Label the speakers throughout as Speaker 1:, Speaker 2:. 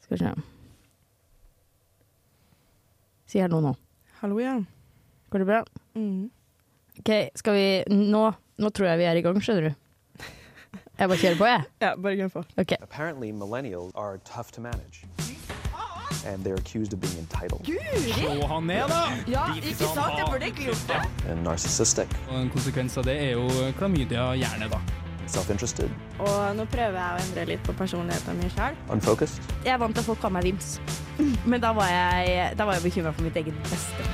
Speaker 1: Skal vi se Si hallo nå.
Speaker 2: Hallo, ja.
Speaker 1: Går det bra?
Speaker 2: Mm.
Speaker 1: OK, skal vi Nå, nå tror jeg vi er i gang, skjønner du. Jeg bare kjører på, jeg.
Speaker 2: Ja, bare gønn på.
Speaker 1: OK.
Speaker 3: Apparently, millennials are tough to manage. And they're accused of being entitled
Speaker 4: Slå han ned, da!
Speaker 5: Ja, ikke sant? Jeg burde egentlig gjort det.
Speaker 3: and narcissistic,
Speaker 4: Og en konsekvens av det er jo klamydia hjerne, da.
Speaker 3: self interested,
Speaker 2: Og nå prøver jeg å endre litt på personligheten min sjøl.
Speaker 3: unfocused,
Speaker 1: Jeg er vant til at folk kaller meg Vims, men da var jeg, da var jeg bekymra for mitt eget beste.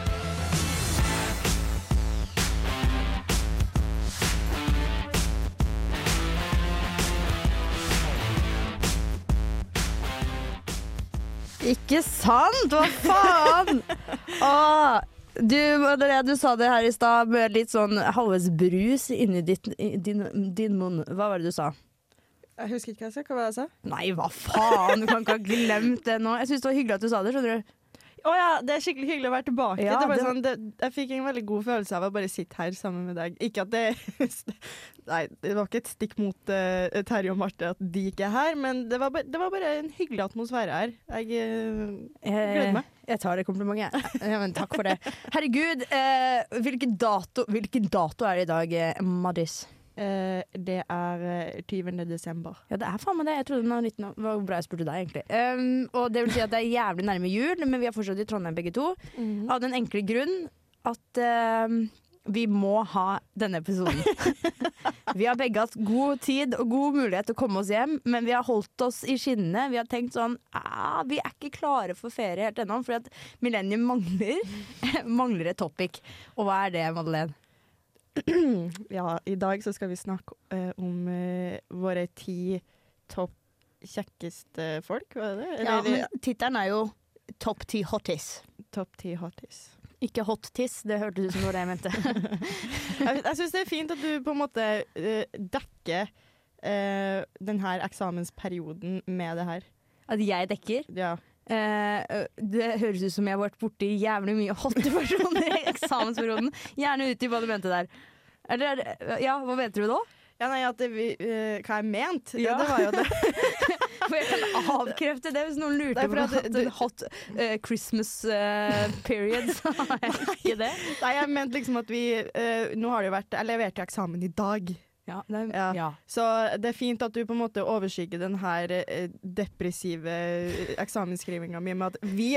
Speaker 1: Ikke sant? Hva faen? Åh, du, Andrea, du sa det her i stad med litt sånn halvesbrus inni ditt, i din, din munn. Hva var det du sa?
Speaker 2: Jeg husker ikke hva jeg sa. Hva var det jeg sa?
Speaker 1: Nei, hva faen? Du kan ikke ha glemt det nå. Jeg syns det var hyggelig at du sa det. skjønner du?
Speaker 2: Å ja, det er skikkelig hyggelig å være tilbake.
Speaker 1: Ja,
Speaker 2: det er bare
Speaker 1: det var-
Speaker 2: sånn, det, jeg fikk en veldig god følelse av å bare sitte her sammen med deg. Ikke at det Nei, det var ikke et stikk mot eh, Terje og Marte at de ikke er her, men det var, ba- det var bare en hyggelig atmosfære her. Jeg eh, gleder meg.
Speaker 1: Jeg tar det komplimentet. jeg. Ja, men takk for det. Herregud, eh, hvilken, dato, hvilken dato er det i dag, eh, Maddis?
Speaker 2: Eh, det er eh, 20. desember.
Speaker 1: Ja, det er faen meg det. Jeg trodde den var 19 år. Det var bra jeg spurte deg, egentlig. Um, og det vil si at det er jævlig nærme jul, men vi er fortsatt i Trondheim begge to.
Speaker 2: Mm.
Speaker 1: Av den enkle grunn at um, vi må ha denne episoden. vi har begge hatt god tid og god mulighet til å komme oss hjem, men vi har holdt oss i skinnene. Vi har tenkt sånn ah, Vi er ikke klare for ferie helt ennå, fordi at millennium mangler, mangler et topic. Og hva er det, Madeleine?
Speaker 2: Ja, i dag så skal vi snakke eh, om eh, våre ti topp kjekkeste folk, var det det?
Speaker 1: Ja,
Speaker 2: Eller
Speaker 1: men Tittelen er jo Topp ti hotties.
Speaker 2: topp ti hotties.
Speaker 1: Ikke hot tiss, det hørtes ut som det var det jeg mente.
Speaker 2: Jeg, jeg syns det er fint at du på en måte eh, dekker eh, den her eksamensperioden med det her.
Speaker 1: At jeg dekker.
Speaker 2: Ja.
Speaker 1: Eh, det høres ut som jeg har vært borti jævlig mye hotte personer i eksamensperioden. Gjerne utdyp hva du mente der. Eller ja, hva mente du da?
Speaker 2: ja, nei, at det, vi, eh, hva jeg mente,
Speaker 1: Ja.
Speaker 2: det, det var jo det.
Speaker 1: For jeg kan avkrefte det hvis noen
Speaker 2: Nei,
Speaker 1: lurte
Speaker 2: for
Speaker 1: på
Speaker 2: at
Speaker 1: at
Speaker 2: du-
Speaker 1: en hot eh, Christmas eh, period, så har jeg ikke det.
Speaker 2: Nei, jeg mente liksom at vi eh, Nå har det jo vært Jeg leverte jo eksamen i dag.
Speaker 1: Ja, det er,
Speaker 2: Ja.
Speaker 1: ja.
Speaker 2: Så det er fint at du på en måte overskygger den her eh, depressive eh, eksamensskrivinga mi med at vi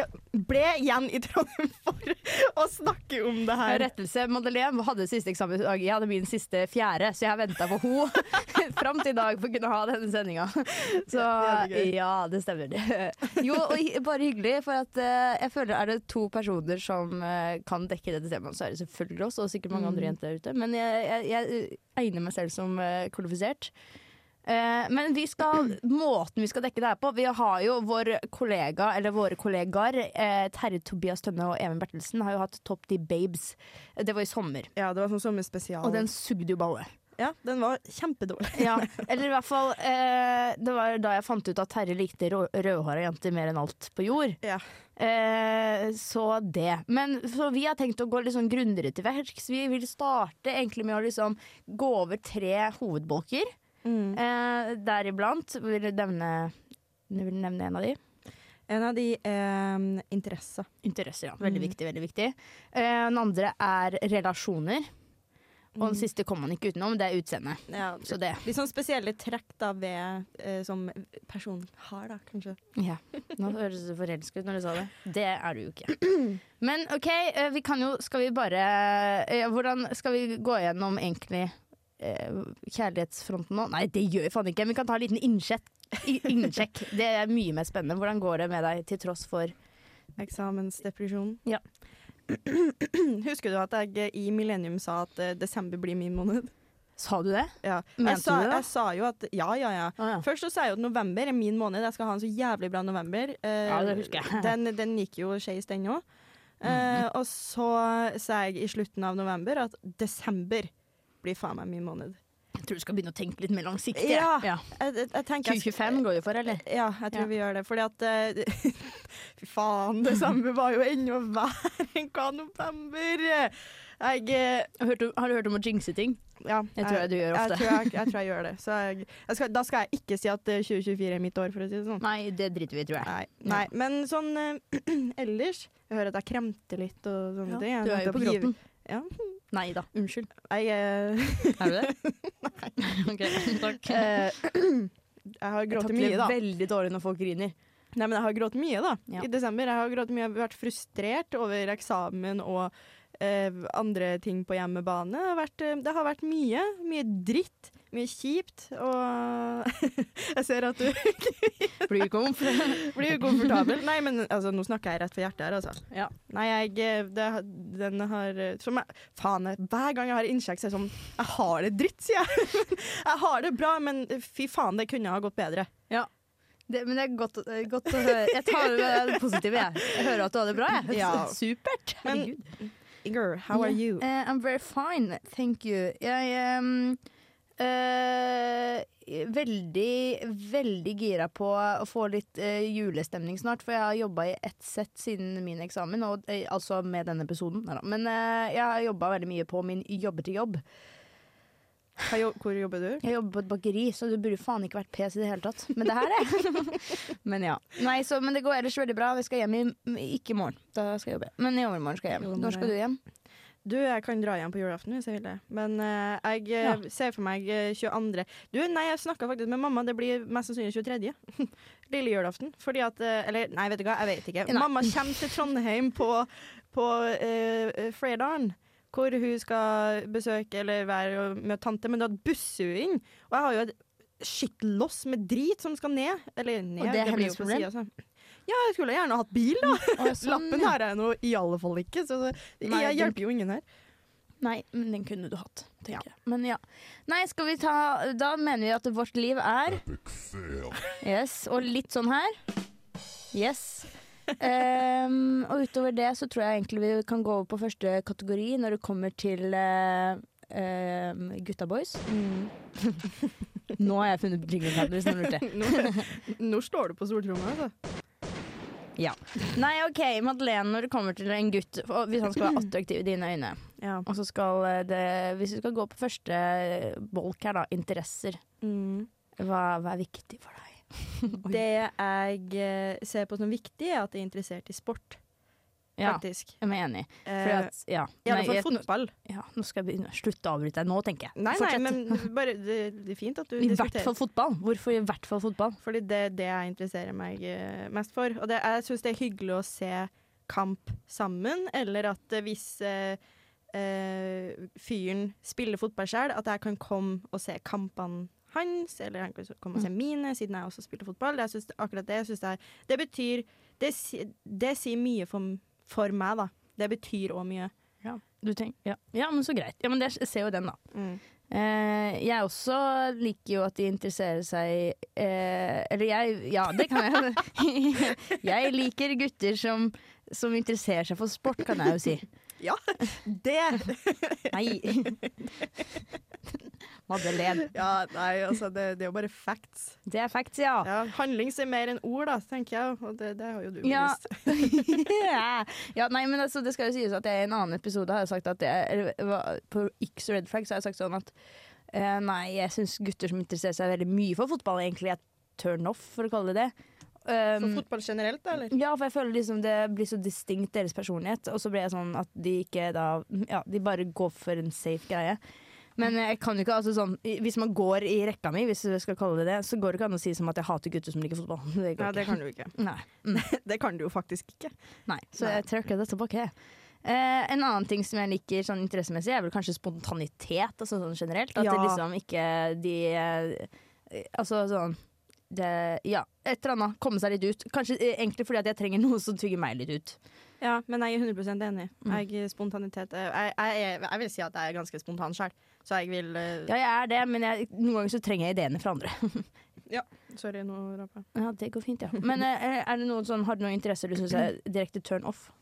Speaker 2: ble igjen i Trondheim for å snakke om det her.
Speaker 1: Rettelse. Madeleine hadde siste eksamen i dag. Jeg hadde min siste fjerde, så jeg venta på henne fram til i dag for å kunne ha denne sendinga. Så
Speaker 2: Ja, det er gøy.
Speaker 1: ja, det stemmer. det. Jo, og hy- bare hyggelig, for at eh, jeg føler er det to personer som eh, kan dekke dette temaet, så er det selvfølgelig oss, og sikkert mange andre jenter der ute. Men jeg, jeg, jeg egner meg selv som eh, kvalifisert. Eh, men vi skal, måten vi skal dekke det her på Vi har jo vår kollega, eller våre kollegaer eh, Terje Tobias Tønne og Even Bertelsen har jo hatt Topp de Babes. Det var i sommer.
Speaker 2: Ja, det var sånn sommerspesial.
Speaker 1: Og den sugde jo ballet.
Speaker 2: ja, den var kjempedårlig.
Speaker 1: Ja, eller i hvert fall eh, Det var da jeg fant ut at Terje likte rå- rødhåra jenter mer enn alt på jord.
Speaker 2: Ja.
Speaker 1: Eh, så det. Men så vi har tenkt å gå litt sånn grundigere til verks. Vi vil starte egentlig med å liksom gå over tre hovedbolker.
Speaker 2: Mm.
Speaker 1: Eh, deriblant vil jeg nevne jeg vil nevne en av de.
Speaker 2: En av de eh, interesser.
Speaker 1: Interesser, ja. Veldig viktig. veldig viktig. Eh, den andre er relasjoner. Og den siste kommer man ikke utenom, det er utseendet.
Speaker 2: Ja,
Speaker 1: Så det.
Speaker 2: Litt sånn spesielle trekk da ved eh, som personen har, da, kanskje.
Speaker 1: Ja. Nå høres du forelsket ut når du sa det. Det er du jo ikke. Men OK, eh, vi kan jo Skal vi bare eh, Hvordan skal vi gå gjennom egentlig eh, kjærlighetsfronten nå? Nei, det gjør vi faen ikke. Men vi kan ta en liten innsjekk. i- innsjekk. Det er mye mer spennende. Hvordan går det med deg til tross for
Speaker 2: Eksamensdepresjon.
Speaker 1: Ja.
Speaker 2: Husker du at jeg eh, i Millennium sa at eh, desember blir min måned?
Speaker 1: Sa du det?
Speaker 2: Ja.
Speaker 1: Mente
Speaker 2: jeg sa,
Speaker 1: du det?
Speaker 2: Jeg sa jo at Ja, ja, ja.
Speaker 1: Å, ja.
Speaker 2: Først så sa jeg jo at november er min måned, jeg skal ha en så jævlig bra november. Eh,
Speaker 1: Ja, det husker jeg. Mhm.
Speaker 2: Den, den gikk jo skeis, den òg. og så sa jeg i slutten av november at desember blir faen meg min måned.
Speaker 1: Jeg tror du skal begynne å tenke litt mer langsiktig. jeg.
Speaker 2: Ja!
Speaker 1: Ja.
Speaker 2: Jeg, jeg, jeg tenker jeg-
Speaker 1: Q25 går jo for, eller?
Speaker 2: Ja, jeg tror
Speaker 1: Ja.
Speaker 2: vi gjør det. Fordi at eh, Fy faen, det samme var jo ennå verre enn hva november Jeg, eh,
Speaker 1: Har du, har du hørt om å jinxe ting?
Speaker 2: ja,
Speaker 1: Jeg tror jeg du gjør ofte.
Speaker 2: Jeg tror jeg, jeg, tror jeg gjør det. Så jeg, jeg skal, da skal jeg ikke si at eh, 2024 er mitt år, for å si det sånn.
Speaker 1: Nei, det driter vi i, tror jeg.
Speaker 2: Nei, nei. Men sånn eh, ellers Jeg hører at jeg kremter litt og sånne
Speaker 1: Ja,
Speaker 2: ting. Jeg
Speaker 1: du er jo
Speaker 2: nettopp
Speaker 1: på
Speaker 2: givet-
Speaker 1: gråten.
Speaker 2: Ja.
Speaker 1: Nei da, unnskyld.
Speaker 2: Jeg, eh,
Speaker 1: Er du det? ok, takk.
Speaker 2: eh, jeg har
Speaker 1: Jeg
Speaker 2: grått
Speaker 1: takler
Speaker 2: mye, da.
Speaker 1: veldig dårlig når folk griner.
Speaker 2: Nei, men jeg har grått mye, da.
Speaker 1: Ja.
Speaker 2: I desember. Jeg har grått mye. Jeg har vært frustrert over eksamen og eh, andre ting på hjemmebane. Det har vært, eh, det har vært mye. Mye dritt. Mye kjipt. Og jeg ser at du
Speaker 1: Blir ikke om.
Speaker 2: blir ukomfortabel. Nei, men altså, nå snakker jeg rett for hjertet her, altså.
Speaker 1: Ja.
Speaker 2: Nei, jeg eh, det, har- Den har eh, som jeg, Faen, jeg, hver gang jeg har innsjekk, så er det sånn Jeg har det dritt, sier jeg. jeg har det bra, men fy faen, det kunne ha gått bedre.
Speaker 1: Det, men det er godt, eh, godt å høre. Jeg tar med det positive, jeg. Jeg hører at du har det bra, jeg.
Speaker 2: Ja.
Speaker 1: Supert.
Speaker 2: Men-
Speaker 1: Herregud.
Speaker 2: Girl, how are
Speaker 1: Yeah.
Speaker 2: you?
Speaker 1: Eh, I'm very fine, thank you. Jeg em, eh, veldig, veldig gira på å få litt eh, julestemning snart, for jeg har jobba i ett sett siden min eksamen, og, eh, altså med denne episoden. Neida. Men eh, jeg har jobba veldig mye på min jobber til jobb.
Speaker 2: Hva jo- Hvor jobber du?
Speaker 1: Jeg jobber på et bakeri, så du burde faen ikke vært pes i det hele tatt. Men det her er Men ja. Nei, så, men det går ellers veldig bra. Vi skal hjem i Ikke i morgen, da skal jeg jobbe. Men i overmorgen skal jeg hjem. Når skal du hjem?
Speaker 2: Du, jeg kan dra hjem på julaften hvis jeg vil det. Men eh, jeg eh, ser for meg eh, 22. Du, nei, jeg snakka faktisk med mamma. Det blir mest sannsynlig 23. Lille julaften. Fordi at eh, Eller nei, vet du hva, jeg vet ikke.
Speaker 1: Nei.
Speaker 2: Mamma kommer til Trondheim på, på eh, Fredalen. Hvor hun skal besøke eller være og møte tante, men da busser hun inn. Og jeg har jo et shitloss med drit som skal ned. Eller ned,
Speaker 1: Og det er
Speaker 2: blir
Speaker 1: hennes
Speaker 2: jo på siden, altså. Ja, jeg skulle gjerne hatt bil, da.
Speaker 1: Å, sånn,
Speaker 2: Lappen
Speaker 1: ja.
Speaker 2: har jeg nå i alle fall ikke, så det-
Speaker 1: Nei,
Speaker 2: jeg
Speaker 1: du-
Speaker 2: hjelper jo ingen her.
Speaker 1: Nei, men den kunne du hatt. tenker jeg. Men ja. Nei, skal vi ta Da mener vi at vårt liv er Yes, og litt sånn her. Yes. Ehm, og utover det så tror jeg egentlig vi kan gå over på første kategori når det kommer til eh, ehm, gutta boys.
Speaker 2: Mm.
Speaker 1: Nå har jeg funnet jingle paddles, nå lurte jeg.
Speaker 2: Nå, nå står du på stortromma, altså.
Speaker 1: Nei, OK, Madeleine, når det kommer til en gutt, og hvis han skal være attraktiv i dine øyne,
Speaker 2: Ja.
Speaker 1: og så skal eh, det Hvis vi skal gå på første bolk her, da, interesser. Hva, hva er viktig for deg? Oi.
Speaker 2: Mm. Det jeg eh, ser på som viktig, er at jeg er interessert i sport,
Speaker 1: Ja,
Speaker 2: faktisk.
Speaker 1: jeg er enig. Fordi
Speaker 2: Eh,
Speaker 1: at, ja.
Speaker 2: I alle
Speaker 1: Nei,
Speaker 2: fall
Speaker 1: jeg-
Speaker 2: fotball.
Speaker 1: ja, nå skal jeg begynne. Slutt å avbryte deg nå, tenker jeg.
Speaker 2: Nei, nei,
Speaker 1: Fortsett.
Speaker 2: men bare, det, det er fint at du
Speaker 1: I hvert fall
Speaker 2: diskuterer.
Speaker 1: fotball. Hvorfor i hvert fall fotball?
Speaker 2: Fordi det er det jeg interesserer meg eh, mest for. Og det, jeg syns det er hyggelig å se kamp sammen, eller at eh, hvis eh, eh, fyren spiller fotball sjøl, at jeg kan komme og se kampene hans, eller han kan komme og se mine, siden jeg også spiller fotball. Jeg synes, akkurat det syns jeg Det betyr Det, si- det sier mye for, for meg, da. Det betyr òg mye.
Speaker 1: Ja, du tenk- ja. ja, men så greit. Ja, men det, ser jo den, da.
Speaker 2: Mm.
Speaker 1: Eh, jeg også liker jo at de interesserer seg eh, Eller jeg Ja, det kan jeg. jeg liker gutter som, som interesserer seg for sport, kan jeg jo si.
Speaker 2: Det!
Speaker 1: Nei. Madeleine.
Speaker 2: Ja, nei, altså, det, det er jo bare facts.
Speaker 1: Det er facts, ja.
Speaker 2: Ja, handling er mer enn ord, da, tenker jeg, og det, det har jo du
Speaker 1: Ja.
Speaker 2: bevist.
Speaker 1: ja. nei, men altså, det skal jo sies at jeg i en annen episode har sagt at jeg, eller, hva- På X Red Flag så har jeg sagt sånn at eh, Nei, jeg syns gutter som interesserer seg veldig mye for fotball, egentlig er turn off, for å kalle det det.
Speaker 2: For
Speaker 1: Um,
Speaker 2: fotball generelt, da, eller?
Speaker 1: ja, for jeg føler liksom det blir så distinkt deres personlighet. Og så blir jeg sånn at de ikke da Ja, de bare går for en safe greie. Men jeg kan jo ikke, altså sånn i- hvis man går i rekka mi, hvis vi skal kalle det det, så går det ikke an å si som at jeg hater gutter som liker fotball. Det går
Speaker 2: Nei, det
Speaker 1: ikke.
Speaker 2: kan du ikke.
Speaker 1: Nei.
Speaker 2: Det kan du jo faktisk ikke.
Speaker 1: Nei, så
Speaker 2: Nei.
Speaker 1: jeg trekker det tilbake. Eh, en annen ting som jeg liker sånn interessemessig, er vel kanskje spontanitet. Altså, sånn generelt. At det
Speaker 2: Ja.
Speaker 1: liksom ikke de eh, Altså sånn det, Ja, et eller annet. Komme seg litt ut. Kanskje eh, egentlig fordi at jeg trenger noe som tygger meg litt ut.
Speaker 2: Ja, men jeg er 100 enig.
Speaker 1: Mm.
Speaker 2: Jeg, spontanitet jeg, jeg, jeg, jeg vil si at jeg er ganske spontan sjøl, så jeg vil eh,
Speaker 1: Ja, jeg er det, men jeg, noen ganger så trenger jeg ideene fra andre.
Speaker 2: Sorry, nå rapa jeg.
Speaker 1: Ja, det går fint, ja. Men eh, er det noen sånn, har du noen interesser du syns er direkte turn off?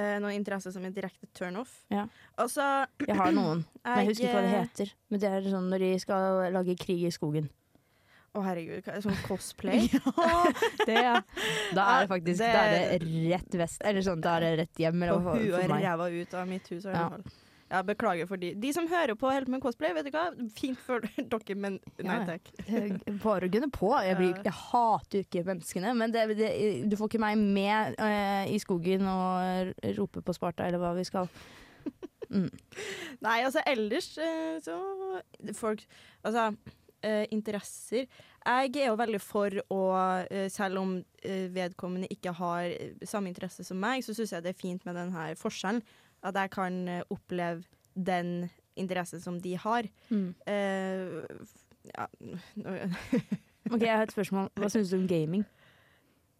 Speaker 2: Eh, Noen interesser som er direkte turn-off.
Speaker 1: Ja.
Speaker 2: Altså,
Speaker 1: Jeg har noen, men jeg
Speaker 2: jeg
Speaker 1: husker ikke hva det
Speaker 2: eh,
Speaker 1: heter. Men det er sånn når de skal lage krig i skogen.
Speaker 2: Å herregud, hva- sånn cosplay.
Speaker 1: Det, da er det faktisk
Speaker 2: Det-
Speaker 1: Da er det rett vest Eller sånn, da er det rett hjem eller,
Speaker 2: Og
Speaker 1: hva for,
Speaker 2: hun og
Speaker 1: for meg.
Speaker 2: ræva ut av mitt hus.
Speaker 1: Ja.
Speaker 2: i hvert fall. Ja, beklager for de. De som hører på og holder på med cosplay, vet du hva? Fint for dere, men nei
Speaker 1: Ja, ja.
Speaker 2: takk.
Speaker 1: Eh, Bare gønne på. Jeg, blir,
Speaker 2: Ja.
Speaker 1: jeg hater jo ikke menneskene, men det, det, du får ikke meg med eh, i skogen og r- rope på Sparta eller hva vi skal.
Speaker 2: Nei, altså ellers eh, så Folk Altså, eh, interesser Jeg er jo veldig for å eh, Selv om eh, vedkommende ikke har eh, samme interesse som meg, så syns jeg det er fint med den her forskjellen. At jeg kan eh, oppleve den interessen som de har.
Speaker 1: Mm.
Speaker 2: Eh, f- ja nå-
Speaker 1: Ok, Jeg har et spørsmål. Hva syns du om gaming?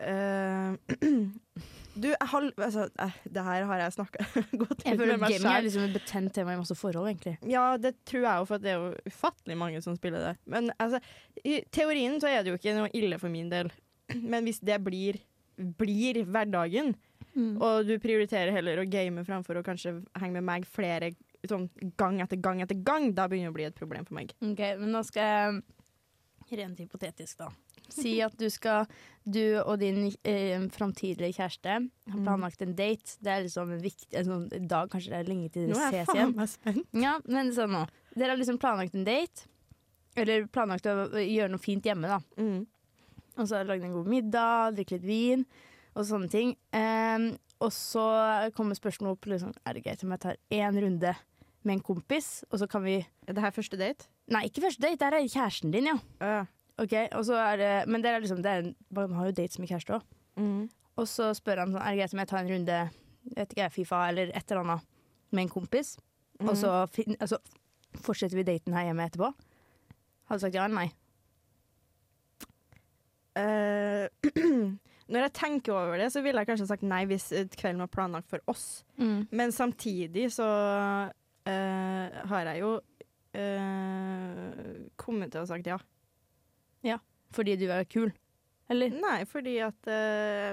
Speaker 2: Eh, Du, jeg har altså, eh, Det her har jeg snakka godt
Speaker 1: Jeg
Speaker 2: ut
Speaker 1: føler at
Speaker 2: med meg
Speaker 1: Gaming er
Speaker 2: sjøl.
Speaker 1: liksom et betent tema i masse forhold, egentlig.
Speaker 2: Ja, det tror jeg jo, for det er jo ufattelig mange som spiller det. Men altså, i teorien så er det jo ikke noe ille for min del. Men hvis det blir, blir hverdagen,
Speaker 1: Mm.
Speaker 2: og du prioriterer heller å game framfor å kanskje henge med meg flere sånn gang etter gang etter gang, da begynner det å bli et problem for meg.
Speaker 1: Ok, Men nå skal jeg rent hypotetisk, da. Si at du skal Du og din eh, framtidige kjæreste har planlagt en date. Det er liksom en viktig en sånn dag, kanskje det er lenge til
Speaker 2: Nå
Speaker 1: dere
Speaker 2: er jeg
Speaker 1: ses igjen.
Speaker 2: faen meg spent.
Speaker 1: Ja, men sånn nå. Dere har liksom planlagt en date. Eller planlagt å gjøre noe fint hjemme, da.
Speaker 2: Mm.
Speaker 1: Og så lage en god middag, drikke litt vin og sånne ting. Ehm, og så kommer spørsmålet opp liksom, Er det greit om jeg tar én runde med en kompis, og så kan vi
Speaker 2: Er det her første date?
Speaker 1: Nei, ikke første date, der er kjæresten din, ja.
Speaker 2: Ja.
Speaker 1: Ok, og så er det Men det er liksom, det er en, man har jo dates med kjæreste òg.
Speaker 2: Mm.
Speaker 1: Og så spør han sånn Er det greit om jeg tar en runde jeg vet ikke, Fifa eller et eller annet med en kompis?
Speaker 2: Mm.
Speaker 1: Og så
Speaker 2: Mhm.
Speaker 1: fin, altså, fortsetter vi daten her hjemme etterpå? Hadde du sagt ja eller nei?
Speaker 2: Eh, når jeg tenker over det, så ville jeg kanskje sagt nei hvis eh, kvelden var planlagt for oss. Men samtidig så eh, har jeg jo eh, kommet til å ha sagt ja.
Speaker 1: Fordi du er kul? Eller?
Speaker 2: Nei, fordi at eh,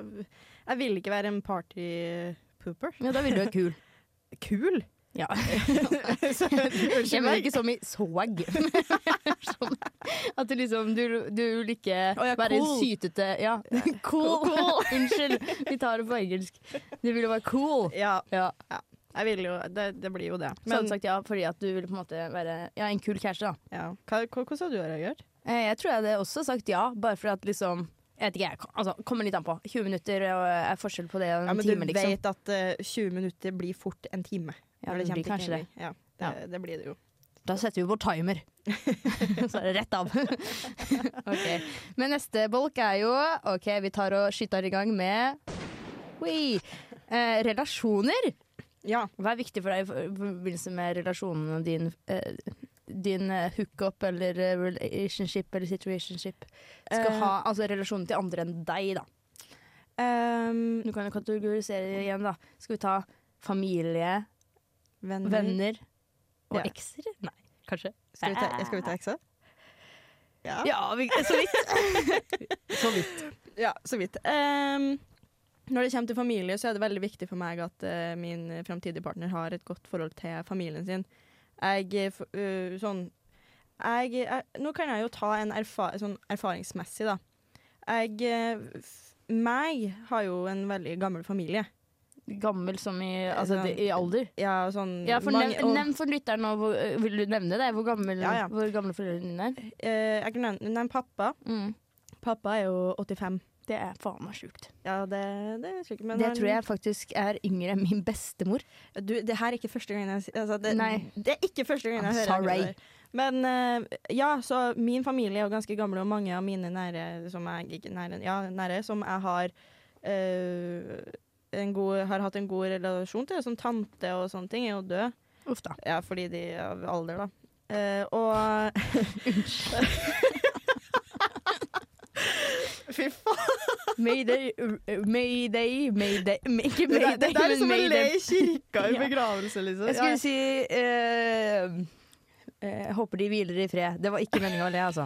Speaker 2: jeg vil ikke være en partypooper.
Speaker 1: Ja, da ville du være kul.
Speaker 2: Kul!
Speaker 1: Ja.
Speaker 2: så,
Speaker 1: Jeg mener
Speaker 2: unnskyld meg.
Speaker 1: ikke som i swag. sånn, at du liksom Du, du vil ikke
Speaker 2: Å, ja,
Speaker 1: være
Speaker 2: cool.
Speaker 1: en sytete Ja. Cool! Unnskyld, vi tar det på engelsk. Du ville være cool.
Speaker 2: Ja,
Speaker 1: Ja.
Speaker 2: jeg vil jo Det, det blir jo det.
Speaker 1: Så hadde du sagt ja fordi at du ville på en måte være ja, en kul kjæreste, da.
Speaker 2: ja. Hva, hva, hva sa du, Røyert?
Speaker 1: Eh, Jeg tror jeg hadde også sagt ja, bare for at liksom jeg vet ikke, jeg, altså, kommer litt an på. 20 minutter og eh, er forskjell på det og en
Speaker 2: Ja, men
Speaker 1: time,
Speaker 2: du
Speaker 1: liksom.
Speaker 2: vet at eh, 20 minutter blir fort en time.
Speaker 1: Ja,
Speaker 2: når
Speaker 1: det
Speaker 2: kommer
Speaker 1: blir
Speaker 2: til
Speaker 1: kanskje det.
Speaker 2: gaming. Ja, det, det blir det jo.
Speaker 1: Da setter vi vår timer. Så er det rett av. ok. Men neste bolk er jo OK, vi tar og skyter i gang med Oi. Eh, relasjoner.
Speaker 2: Ja.
Speaker 1: Hva er viktig for deg i for- i forbindelse med relasjonene din? Eh, din eh, hookup eller eh, relationship eller situationship skal
Speaker 2: Eh.
Speaker 1: ha altså relasjonen til andre enn deg, da. Du kan jo kategorisere det igjen, da. Skal vi ta familie,
Speaker 2: venner.
Speaker 1: venner og
Speaker 2: Ja.
Speaker 1: ekser? Nei, Mhm. kanskje.
Speaker 2: Skal vi ta, skal vi ta eksa? Ja. ja.
Speaker 1: Ja, vi, så vidt. så vidt.
Speaker 2: så vidt. Ehm, når det kommer til familie, så er det veldig viktig for meg at eh, min framtidige partner har et godt forhold til familien sin. Jeg eh, f- øh, sånn jeg, jeg, Nå kan jeg jo ta en erfa, sånn erfaringsmessig, da. Jeg eh, f- meg har jo en veldig gammel familie.
Speaker 1: Gammel som i, altså,
Speaker 2: Sånn-
Speaker 1: det- i alder?
Speaker 2: Ja, og sånn
Speaker 1: Ja, for
Speaker 2: mange-
Speaker 1: nevn,
Speaker 2: og-
Speaker 1: nevn for lytteren nå, hvor, eh, vil du nevne det? Hvor, gammel,
Speaker 2: Ja, ja.
Speaker 1: hvor gamle foreldrene dine er?
Speaker 2: Eh, jeg kan nevne, nevne pappa.
Speaker 1: Mm.
Speaker 2: Pappa er jo 85.
Speaker 1: Det er faen meg sjukt.
Speaker 2: Ja, det, det er slik. men
Speaker 1: Det
Speaker 2: han-
Speaker 1: tror jeg faktisk er yngre enn min bestemor.
Speaker 2: Du, det her er ikke første gangen jeg sier altså, det.
Speaker 1: Nei.
Speaker 2: Det er ikke første gangen
Speaker 1: I'm
Speaker 2: jeg hører akkurat
Speaker 1: sorry.
Speaker 2: det der. Men eh, ja, så min familie er jo ganske gammel, og mange av mine nære som jeg, ikke nære, ja, nære, som jeg har eh, en god, har hatt en god relasjon til, som tante og sånne ting, er jo død.
Speaker 1: Uff da.
Speaker 2: Ja, fordi de er av alder, da. Eh, og Fy faen!
Speaker 1: Mayday, uh, mayday, mayday may- Ikke
Speaker 2: Det,
Speaker 1: mayday,
Speaker 2: der- det der er som å le
Speaker 1: mayday.
Speaker 2: i kirka i
Speaker 1: Ja.
Speaker 2: begravelse, liksom.
Speaker 1: Jeg skulle
Speaker 2: Ja.
Speaker 1: si eh, eh, Jeg håper de hviler i fred. Det var ikke meninga å le, altså.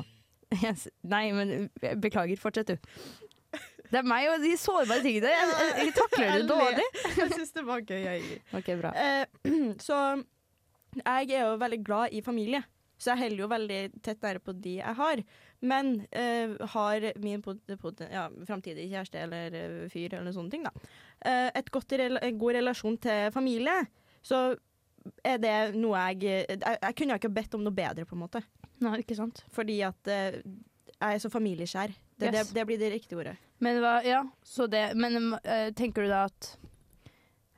Speaker 1: Yes. Nei, men eh, beklager. Fortsett, du. Det er meg og de sårbare tingene. Jeg, jeg, jeg takler det
Speaker 2: Jeg ler.
Speaker 1: dårlig.
Speaker 2: Jeg syns det var gøy. Jeg.
Speaker 1: Ok, bra.
Speaker 2: Eh, så jeg er jo veldig glad i familie, så jeg holder jo veldig tett nære på de jeg har. Men eh, har min pot pot ja, framtidige kjæreste eller eh, fyr eller sånne ting, da, eh, et godt rel en god relasjon til familie, så er det noe jeg Jeg, jeg kunne ikke bedt om noe bedre, på en måte.
Speaker 1: Nei, ikke sant.
Speaker 2: Fordi at eh, jeg er så familieskjær. Det,
Speaker 1: Yes.
Speaker 2: det, det blir det riktige ordet.
Speaker 1: Men, hva, ja, så det, men eh, tenker du da at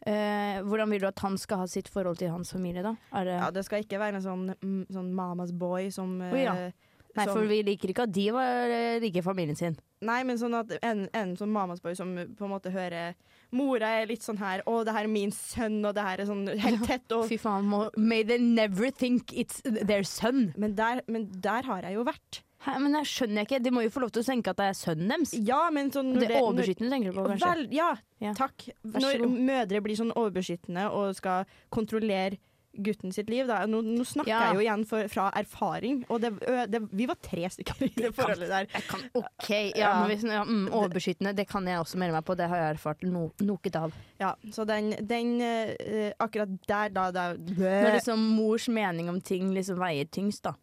Speaker 1: eh, Hvordan vil du at han skal ha sitt forhold til hans familie, da? Er det,
Speaker 2: Ja, Det skal ikke være en sånn, mm, sånn mamas boy som eh,
Speaker 1: Å, ja. nei,
Speaker 2: som-
Speaker 1: for vi liker ikke at de var, eh, liker familien sin.
Speaker 2: Nei, men sånn at en, en sånn mamas boy som på en måte hører Mora er litt sånn her 'Å, det her er min sønn', og det her er sånn helt tett og
Speaker 1: Fy faen, må, may they never think it's their son.
Speaker 2: men der, men der har jeg jo vært.
Speaker 1: Hæ, men jeg skjønner jeg ikke. De må jo få lov til å tenke at det er sønnen deres.
Speaker 2: Ja, men sånn når
Speaker 1: Det er
Speaker 2: når-
Speaker 1: overbeskyttende, tenker du på, kanskje?
Speaker 2: Vel, ja,
Speaker 1: Ja.
Speaker 2: takk.
Speaker 1: så
Speaker 2: Når
Speaker 1: god.
Speaker 2: mødre blir sånn overbeskyttende og skal kontrollere gutten sitt liv da. Nå, nå snakker
Speaker 1: Ja.
Speaker 2: jeg jo igjen for, fra erfaring, og det, ø- det, vi var tre stykker i det forholdet der.
Speaker 1: Jeg kan, OK, ja,
Speaker 2: Ja.
Speaker 1: når vi, sn- ja, mm, overbeskyttende, det kan jeg også melde meg på. Det har jeg erfart no, noket av.
Speaker 2: Ja, så den, den ø, akkurat der da, da
Speaker 1: Når
Speaker 2: det,
Speaker 1: liksom mors mening om ting liksom veier tyngst, da.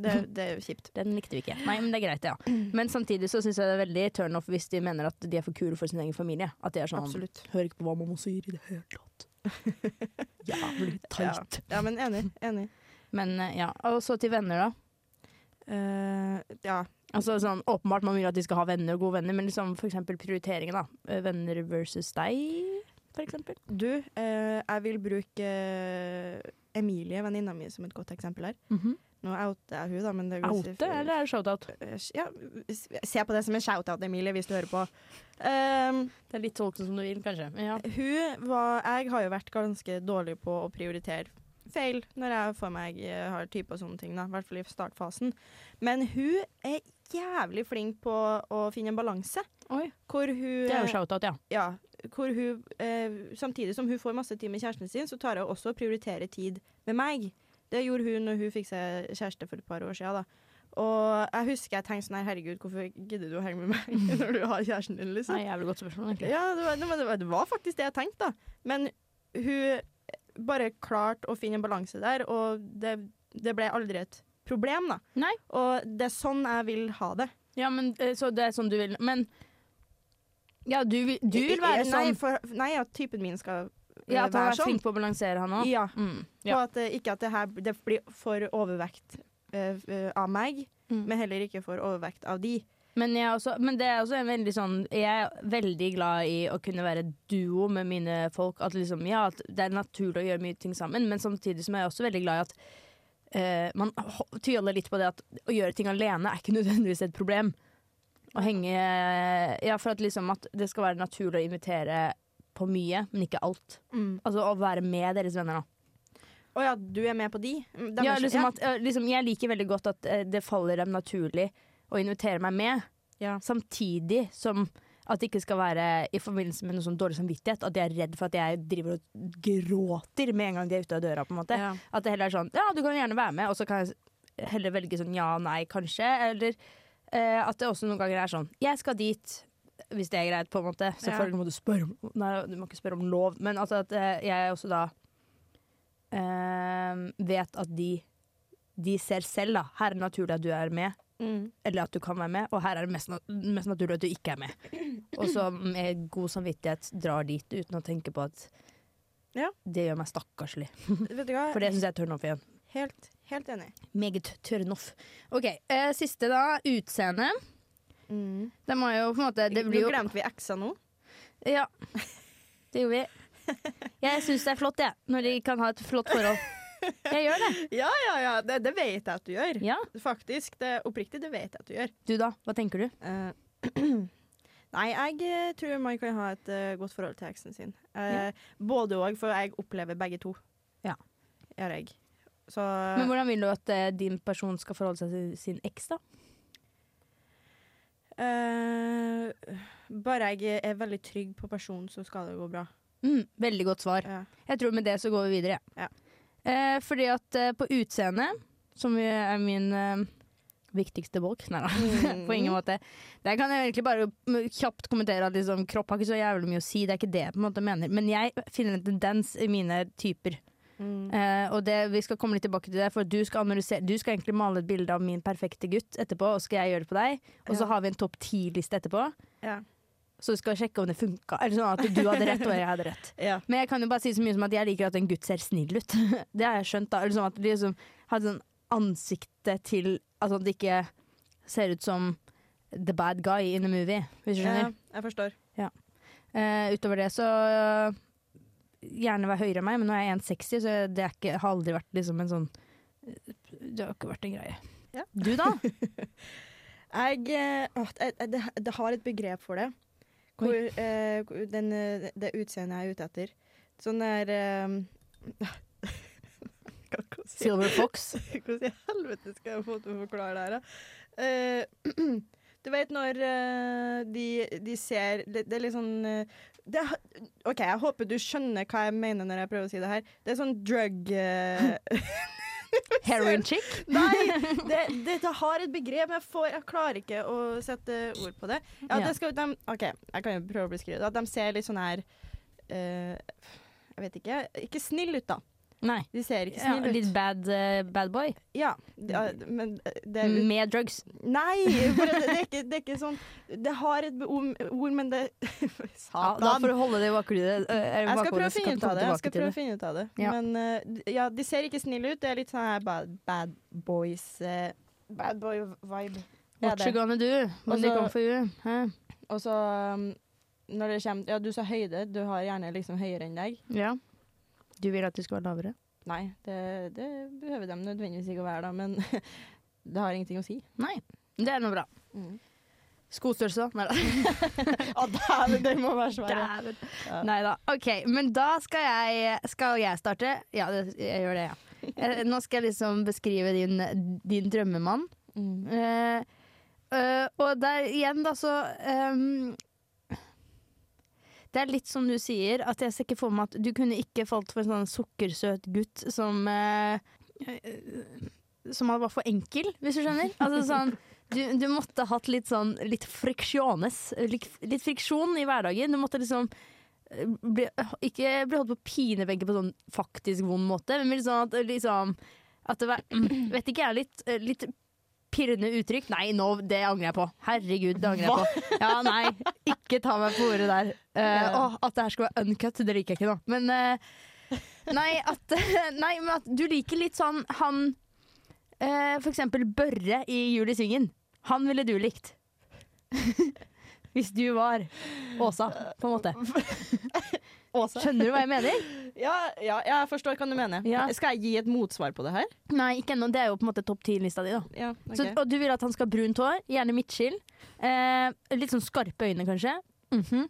Speaker 2: det, det er jo kjipt.
Speaker 1: Den likte vi ikke. Nei, men det er greit, ja. Men samtidig så syns jeg det er veldig turn off hvis de mener at de er for kule for sin egen familie. At de er sånn
Speaker 2: Absolutt.
Speaker 1: Hører ikke på hva mamma sier i det hele tatt. Jævlig
Speaker 2: Ja.
Speaker 1: teit.
Speaker 2: ja, men enig. enig.
Speaker 1: Men eh, ja. Og så til venner, da.
Speaker 2: Eh, ja.
Speaker 1: Altså sånn, Åpenbart man vil at de skal ha venner og gode venner, men liksom for eksempel prioriteringen, da. Eh, Venner versus deg, for eksempel.
Speaker 2: Du, eh, jeg vil bruke eh, Emilie, venninna mi, som et godt eksempel her. Nå outer jeg hun da, men det Eh,
Speaker 1: Oute, eller er Mhm. det shoutout?
Speaker 2: Ja, se på det som en shout-out, Emilie, hvis du hører på. Um,
Speaker 1: Det er litt tolket som du vil, kanskje. Men ja.
Speaker 2: hun var Jeg har jo vært ganske dårlig på å prioritere feil når jeg for meg eh, har type og sånne ting, da. I hvert fall i startfasen. Men hun er jævlig flink på å finne en balanse.
Speaker 1: Oi.
Speaker 2: Hvor hun
Speaker 1: Det er jo shoutout, ja.
Speaker 2: ja, hvor hun, eh, samtidig som hun får masse tid med kjæresten sin, så tar hun også og prioriterer tid med meg. Det gjorde hun når hun fikk seg kjæreste for et par år siden. Da. Og jeg husker jeg tenkte sånn her, herregud, hvorfor gidder du å henge med meg når du har kjæresten
Speaker 1: Det er
Speaker 2: din, liksom?
Speaker 1: et jævlig godt spørsmål, egentlig.
Speaker 2: Ja, det var, det, var, det var- det var faktisk det jeg tenkte, da. Men hun bare klarte å finne en balanse der, og det, det ble aldri et problem, da.
Speaker 1: Nei.
Speaker 2: Og det er sånn jeg vil ha det.
Speaker 1: Ja, men eh, så det er sånn du vil Men ja, du vil, du vil være
Speaker 2: Nei,
Speaker 1: sånn
Speaker 2: for, nei, at typen min skal eh,
Speaker 1: ja, at han
Speaker 2: være
Speaker 1: er
Speaker 2: sånn.
Speaker 1: flink på å balansere, han òg.
Speaker 2: Ja.
Speaker 1: Mm,
Speaker 2: På
Speaker 1: ja.
Speaker 2: at eh, ikke at det her det blir for overvekt eh, eh, av meg,
Speaker 1: Mm.
Speaker 2: men heller ikke for overvekt av de.
Speaker 1: Men, jeg er også, men det er også en veldig sånn Jeg er veldig glad i å kunne være duo med mine folk. At liksom, ja, at det er naturlig å gjøre mye ting sammen, men samtidig som jeg er også veldig glad i at eh, man ho- tviholder litt på det at å gjøre ting alene er ikke nødvendigvis et problem. Å henge Ja, for at liksom at det skal være naturlig å invitere på mye, men ikke alt.
Speaker 2: Mm.
Speaker 1: Altså å være med deres venner, da.
Speaker 2: Å ja, du er med på de? Mm, dem
Speaker 1: Ja,
Speaker 2: er så-
Speaker 1: liksom
Speaker 2: ja.
Speaker 1: at, eh, liksom, jeg liker veldig godt at eh, det faller dem naturlig å invitere meg med,
Speaker 2: Ja.
Speaker 1: samtidig som at det ikke skal være i forbindelse med noe sånn dårlig samvittighet. At de er redd for at jeg driver og gråter med en gang de er ute av døra. på en måte.
Speaker 2: Ja.
Speaker 1: At det heller er sånn ja, du kan gjerne være med, og så kan jeg s- heller velge sånn ja, nei, kanskje. Eller eh, at det også noen ganger er sånn jeg skal dit, hvis det er greit, på en måte. Selvfølgelig må du spørre om Nei, du må ikke spørre om lov, men altså at eh, jeg også da eh, vet at de de ser selv, da. Her er det naturlig at du er med,
Speaker 2: Mm.
Speaker 1: eller at du kan være med. Og her er det mest, na- mest naturlig at du ikke er med. Og så med god samvittighet drar dit uten å tenke på at
Speaker 2: Ja.
Speaker 1: det gjør meg stakkarslig.
Speaker 2: Vet du hva?
Speaker 1: For det syns jeg er turn off igjen.
Speaker 2: Helt, helt enig.
Speaker 1: Meget turn off. OK, eh, siste da. Utseende.
Speaker 2: Mm.
Speaker 1: Det må jo på en måte Det blir jo
Speaker 2: Nå glemte vi eksa nå.
Speaker 1: Ja. Det gjorde vi. Jeg syns det er flott, jeg. Når de kan ha et flott forhold. Jeg gjør det.
Speaker 2: Ja, ja, ja. Det, det vet jeg at du gjør.
Speaker 1: Ja.
Speaker 2: Faktisk. Det er oppriktig, det vet jeg at du gjør.
Speaker 1: Du, da? Hva tenker du?
Speaker 2: Eh, Nei, jeg eh, tror man kan ha et eh, godt forhold til eksen sin. Eh, Både òg, for jeg opplever begge to.
Speaker 1: Ja.
Speaker 2: Gjør jeg. Så
Speaker 1: Men hvordan vil du at eh, din person skal forholde seg til sin eks, da?
Speaker 2: Eh, bare jeg er veldig trygg på personen, så skal det gå bra.
Speaker 1: Mm, veldig godt svar.
Speaker 2: Ja.
Speaker 1: Jeg tror med det så går vi videre.
Speaker 2: Ja.
Speaker 1: Eh, fordi at eh, på utseende, som jo er min eh, viktigste bolk Nei da, på
Speaker 2: Mm.
Speaker 1: ingen måte. Der kan jeg egentlig bare mm, kjapt kommentere at liksom, kropp har ikke så jævlig mye å si. Det er ikke det jeg på en måte mener. Men jeg finner en tendens i mine typer.
Speaker 2: Mm.
Speaker 1: Eh, og det, vi skal komme litt tilbake til det, for du skal, analysere, du skal egentlig male et bilde av min perfekte gutt etterpå, og skal jeg gjøre det på deg. Og så
Speaker 2: Ja.
Speaker 1: har vi en topp ti-liste etterpå,
Speaker 2: Ja.
Speaker 1: så vi skal sjekke om det funka. Eller sånn at du hadde rett og jeg hadde rett.
Speaker 2: Ja.
Speaker 1: Men jeg kan jo bare si så mye som at jeg liker at en gutt ser snill ut. Det har jeg skjønt, da. Eller sånn at de liksom har sånn ansiktet til Altså at det ikke ser ut som the bad guy in a movie, hvis du skjønner.
Speaker 2: jeg forstår.
Speaker 1: Eh, utover det så øh, gjerne være høyere enn meg, men nå er jeg 1,60, så det er ikke, har aldri vært liksom en sånn øh, Det har ikke vært en greie.
Speaker 2: Ja.
Speaker 1: Du, da?
Speaker 2: Jeg, eh, åh, jeg, jeg det, det har et begrep for det. Hvor, eh, hvor den, eh, det utseendet jeg er ute etter. Sånn der eh, Hva sier jeg?
Speaker 1: Silver Fox.
Speaker 2: Hvordan i helvete skal jeg få til å forklare det her? da? Eh, du vet når eh, de, de ser det, det er litt sånn eh, det, er- OK, jeg håper du skjønner hva jeg mener når jeg prøver å si det her. Det er sånn drug eh,
Speaker 1: Heroin chick.
Speaker 2: Nei! Det, dette har et begrep, men jeg, får, jeg klarer ikke å sette ord på det. Ja,
Speaker 1: Ja.
Speaker 2: det skal, de, OK, jeg kan jo prøve å beskrive det. At de ser litt sånn her eh, Jeg vet ikke. Ikke snill ut, da.
Speaker 1: Nei.
Speaker 2: De ser ikke
Speaker 1: Ja,
Speaker 2: snill
Speaker 1: litt
Speaker 2: ut.
Speaker 1: bad, eh, bad boy.
Speaker 2: Ja, de- men eh, det er
Speaker 1: Med drugs.
Speaker 2: Nei! For det, det, er ikke, det er ikke sånn Det har et be- om- ord, men det
Speaker 1: Ja, da
Speaker 2: Satan!
Speaker 1: for å holde det i eh, bakhodet.
Speaker 2: jeg skal prøve å finne ut av det. Jeg skal prøve å finne ut av det.
Speaker 1: Ja.
Speaker 2: Men eh, d- ja, de ser ikke snille ut. Det er litt sånn her bad, bad boys eh, Bad boy-vibe. Ja,
Speaker 1: What you gonna do when they
Speaker 2: Også-
Speaker 1: come for you? Hæ?
Speaker 2: Og så um, når det kommer Ja, du sa høyde. Du har gjerne liksom høyere enn deg.
Speaker 1: Ja. Du vil at de skal være lavere?
Speaker 2: Nei, det, det behøver de nødvendigvis ikke å være, da, men det har ingenting å si.
Speaker 1: Nei. Det er nå bra.
Speaker 2: Mm.
Speaker 1: Skostørrelse, da? Nei da.
Speaker 2: Å, dæven, det må være svaret.
Speaker 1: Dæven.
Speaker 2: Ja.
Speaker 1: Nei da. OK, men da skal jeg, skal jeg starte. Ja, det, jeg gjør det, ja. Eh, Nå skal jeg liksom beskrive din, din drømmemann.
Speaker 2: Mm.
Speaker 1: Eh, eh, og der igjen, da, så ehm, Det er litt som du sier, at jeg ser ikke for meg at du kunne ikke falt for en sånn sukkersøt gutt som eh, Som var for enkel, hvis du skjønner? Altså sånn du, du måtte hatt litt sånn litt friksjones. Litt, litt friksjon i hverdagen. Du måtte liksom eh, bli, ikke bli holdt på pinebenken på sånn faktisk vond måte, men mer sånn at liksom At det var Vet ikke jeg, litt, eh, litt pirrende uttrykk. Nei, nå, det angrer jeg på. Herregud, det angrer jeg på. Ja, nei, ikke ta meg på ordet der. Eh,
Speaker 2: Ja.
Speaker 1: å, at det her skal være uncut, det liker jeg ikke, da. Men eh, Nei, at, nei, men at du liker litt sånn han eh, For eksempel Børre i Jul i Svingen. Han ville du likt. Hvis du var Åsa, på en måte.
Speaker 2: Åsa.
Speaker 1: Skjønner du hva jeg mener?
Speaker 2: Ja, ja, jeg forstår hva du mener.
Speaker 1: Ja.
Speaker 2: Skal jeg gi et motsvar på det her?
Speaker 1: Nei, ikke ennå. Det er jo på en måte topp ti-lista di, da.
Speaker 2: Ja,
Speaker 1: Så, og du vil at han skal ha brunt hår, gjerne midtskill. Eh, litt sånn skarpe øyne, kanskje. Mhm.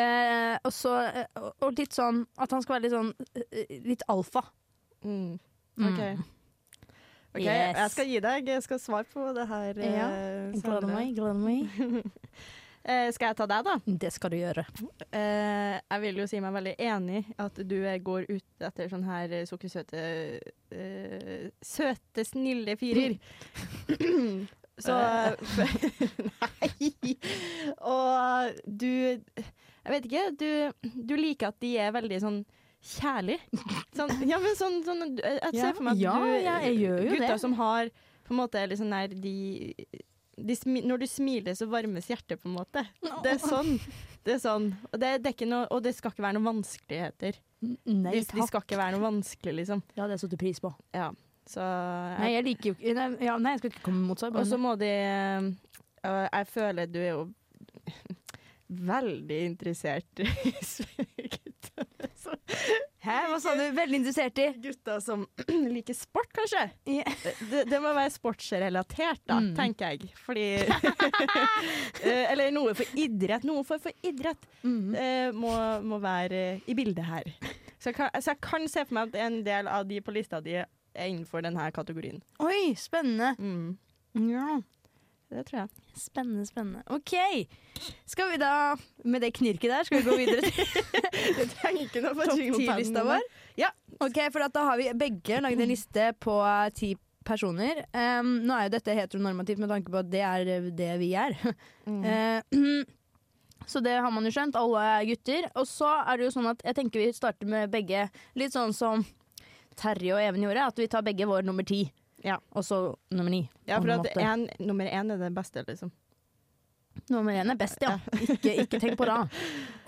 Speaker 1: eh, og så eh, og- Og litt sånn at han skal være litt sånn eh, Litt alfa.
Speaker 2: Mm.
Speaker 1: Mm.
Speaker 2: OK. Ok,
Speaker 1: Yes.
Speaker 2: Jeg skal gi deg Jeg skal svare på det her. eh,
Speaker 1: Ja, Gleder
Speaker 2: senere.
Speaker 1: meg, gleder meg.
Speaker 2: Eh, skal jeg ta deg, da?
Speaker 1: Det skal du gjøre.
Speaker 2: Eh, jeg vil jo si meg veldig enig i at du eh, går ut etter sånne her eh, sukkersøte eh, Søte, snille fyrer. Så
Speaker 1: Eh.
Speaker 2: Nei! Og du Jeg vet ikke. Du, du liker at de er veldig sånn kjærlig. Sånn, ja, men sånn, sånn Jeg
Speaker 1: Ja.
Speaker 2: jeg ser for meg at
Speaker 1: Ja,
Speaker 2: du
Speaker 1: ja, jeg gjør jo
Speaker 2: Gutter
Speaker 1: det.
Speaker 2: som har på en måte er litt sånn der de, de smi, Når du smiler, så varmes hjertet, på en måte. Det er sånn. Det er sånn. Og det, det er ikke noe, og det skal ikke være noen vanskeligheter.
Speaker 1: N- Nei
Speaker 2: De, de
Speaker 1: takk.
Speaker 2: skal ikke være noe vanskelig, liksom.
Speaker 1: Det hadde jeg satt pris på.
Speaker 2: Ja. Så
Speaker 1: Nei, jeg liker jo ikke Nei, ja, nei jeg skal ikke komme med motsvar.
Speaker 2: Og så
Speaker 1: bare-
Speaker 2: må de øh, Jeg føler du er jo veldig interessert i gutter. Så
Speaker 1: Hæ, hva sa du? Veldig interessert i?
Speaker 2: Gutter som liker sport, kanskje.
Speaker 1: Ja.
Speaker 2: Det, det må være sportsrelatert, da,
Speaker 1: Mm.
Speaker 2: tenker jeg. Fordi Eh, Eller noe for idrett. Noe for, for idrett
Speaker 1: Mhm.
Speaker 2: eh, må, må være eh, i bildet her. Så jeg, kan, så jeg kan se for meg at en del av de på lista di er innenfor denne kategorien. Mm.
Speaker 1: Oi, spennende. Ja.
Speaker 2: Det tror jeg.
Speaker 1: Spennende, spennende. OK. Skal vi da, med det knirket der, skal vi gå videre til
Speaker 2: Jeg trenger ikke noe for
Speaker 1: topp
Speaker 2: jinglepaden
Speaker 1: ti-lista
Speaker 2: min.
Speaker 1: vår?
Speaker 2: Ja.
Speaker 1: Ok, for at da har vi begge laget en liste på eh, ti personer. Em, nå er jo dette heteronormativt med tanke på at det er eh, det vi er.
Speaker 2: Mm.
Speaker 1: Eh, så det har man jo skjønt. Alle er gutter. Og så er det jo sånn at jeg tenker vi starter med begge litt sånn som Terje og Even gjorde, at vi tar begge vår nummer ti.
Speaker 2: Ja.
Speaker 1: Og så nummer ni.
Speaker 2: Ja,
Speaker 1: på
Speaker 2: for
Speaker 1: en
Speaker 2: at
Speaker 1: måte.
Speaker 2: en, nummer én er den beste, liksom.
Speaker 1: Nummer én er best, ja. Ikke, ikke tenk på det.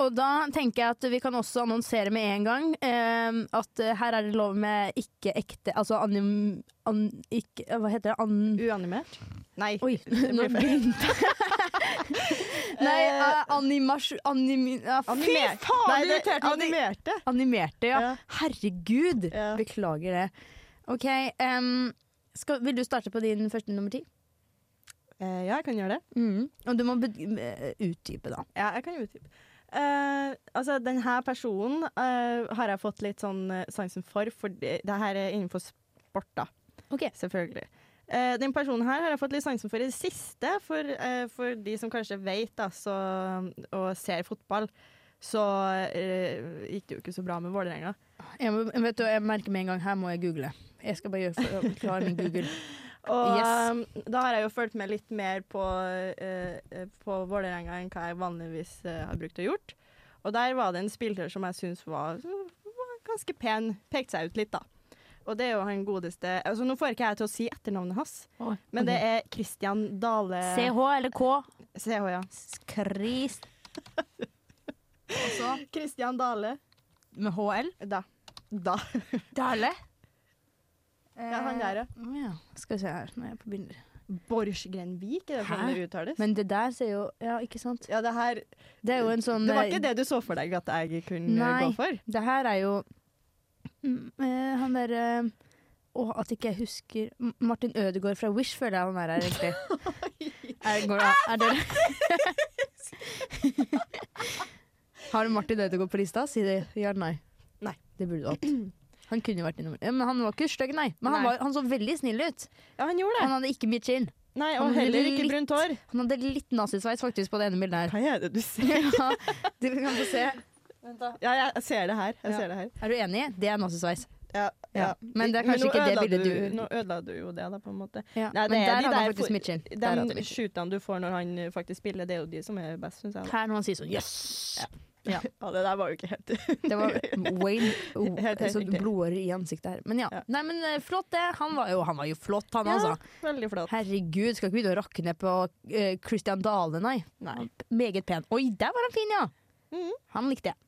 Speaker 1: Og da tenker jeg at vi kan også annonsere med en gang eh, at eh, her er det lov med ikke ekte Altså anim... An, ikke, eh, hva heter det? An...
Speaker 2: Uanimert? Nei.
Speaker 1: Mm. Oi, nå
Speaker 2: blir feil.
Speaker 1: begynte jeg. Nei, eh, animasjon... Anim, ja, fy
Speaker 2: Animert.
Speaker 1: faen,
Speaker 2: Nei,
Speaker 1: du
Speaker 2: det
Speaker 1: irriterte meg.
Speaker 2: animerte.
Speaker 1: Animerte, ja.
Speaker 2: Ja.
Speaker 1: Herregud!
Speaker 2: Ja.
Speaker 1: Beklager det. OK. em, skal, vil du starte på din første nummer ti?
Speaker 2: Eh, ja, jeg kan gjøre det.
Speaker 1: Og du må be- eh, utdype, da.
Speaker 2: Ja, jeg kan utdype. Uh, altså, denne personen eh, har jeg fått litt sånn eh, sansen for, for det, det her er innenfor sport, da.
Speaker 1: Ok.
Speaker 2: Selvfølgelig. Eh, den personen her har jeg fått litt sansen for i det siste, for, eh, for de som kanskje vet da, så, og ser fotball, så eh, gikk det jo ikke så bra med Vålerenga.
Speaker 1: Jeg, må, vet du, jeg merker med en gang her må jeg google. Jeg skal bare gjøre for, klare min Google.
Speaker 2: Og
Speaker 1: Yes.
Speaker 2: eh, da har jeg jo fulgt med litt mer på, eh, eh, på Vålerenga enn hva jeg vanligvis eh, har brukt å gjort. Og der var det en spiller som jeg syns var, var ganske pen. Pekte seg ut litt, da. Og det er jo han godeste altså Nå får ikke jeg til å si etternavnet hans, men det
Speaker 1: Mhm.
Speaker 2: er Christian Dale
Speaker 1: CH eller K?
Speaker 2: CH, ja.
Speaker 1: Kris. Og så
Speaker 2: Christian Dale.
Speaker 1: med HL.
Speaker 2: Da. Da.
Speaker 1: Dale. Eh,
Speaker 2: Ja, han der, ja.
Speaker 1: Mm, ja. Skal vi se her, nå er jeg på bilder.
Speaker 2: Borchgrevink, er det sånn
Speaker 1: Hæ?
Speaker 2: det uttales?
Speaker 1: Men det der ser jo Ja, ikke sant?
Speaker 2: ja, det her
Speaker 1: Det er jo en sånn
Speaker 2: Det var
Speaker 1: eh,
Speaker 2: ikke det du så for deg at jeg kunne
Speaker 1: Nei.
Speaker 2: gå for?
Speaker 1: Det her er jo Mm, eh, Han derre Å, at ikke jeg husker M- Martin Ødegaard fra Wish føler jeg han er her, egentlig. er, går, det- er dere Har du Martin Ødegaard på lista? Si det. Ja eller nei?
Speaker 2: Nei.
Speaker 1: Det burde du hatt. Han kunne jo vært i nummer ja, Men han var ikke stygg, nei. Men han,
Speaker 2: Nei.
Speaker 1: var, han så veldig snill ut.
Speaker 2: Ja, han gjorde det.
Speaker 1: Han hadde ikke mye chill.
Speaker 2: Nei,
Speaker 1: Han
Speaker 2: og
Speaker 1: hadde
Speaker 2: heller ikke
Speaker 1: litt-
Speaker 2: brunt hår.
Speaker 1: Han hadde litt nazisveis faktisk på det ene bildet her.
Speaker 2: Hva er det du ser?
Speaker 1: Ja, du kan få se.
Speaker 2: Ja, jeg ser det her. Jeg
Speaker 1: Ja.
Speaker 2: ser det her.
Speaker 1: Er du enig? Det er nazisveis.
Speaker 2: Ja,
Speaker 1: Ja. Men det er kanskje
Speaker 2: nå
Speaker 1: ikke det
Speaker 2: ødela
Speaker 1: bildet du-
Speaker 2: Nå ødela du jo det, da, på en måte.
Speaker 1: Ja.
Speaker 2: Nei, det
Speaker 1: men der
Speaker 2: er de
Speaker 1: hadde
Speaker 2: der
Speaker 1: han faktisk
Speaker 2: for-
Speaker 1: mye chill. Der hadde han
Speaker 2: De
Speaker 1: mye chill.
Speaker 2: shootene du får når han eh, faktisk spiller, det er jo de som er best, syns jeg. da.
Speaker 1: Her når han sier sånn yes!
Speaker 2: Ja, det der var jo ikke helt
Speaker 1: Det var Wayne oh,
Speaker 2: Helt
Speaker 1: så
Speaker 2: riktig.
Speaker 1: blodårer i ansiktet her. Men ja.
Speaker 2: Ja.
Speaker 1: Nei, men eh, flott det. Han var jo, han var jo flott, han
Speaker 2: Ja.
Speaker 1: altså.
Speaker 2: Veldig flott.
Speaker 1: Herregud, skal ikke begynne å rakke ned på eh, Christian Dale, nei.
Speaker 2: Nei.
Speaker 1: Meget pen. Oi, der var han fin, ja!
Speaker 2: Mhm.
Speaker 1: Han likte jeg.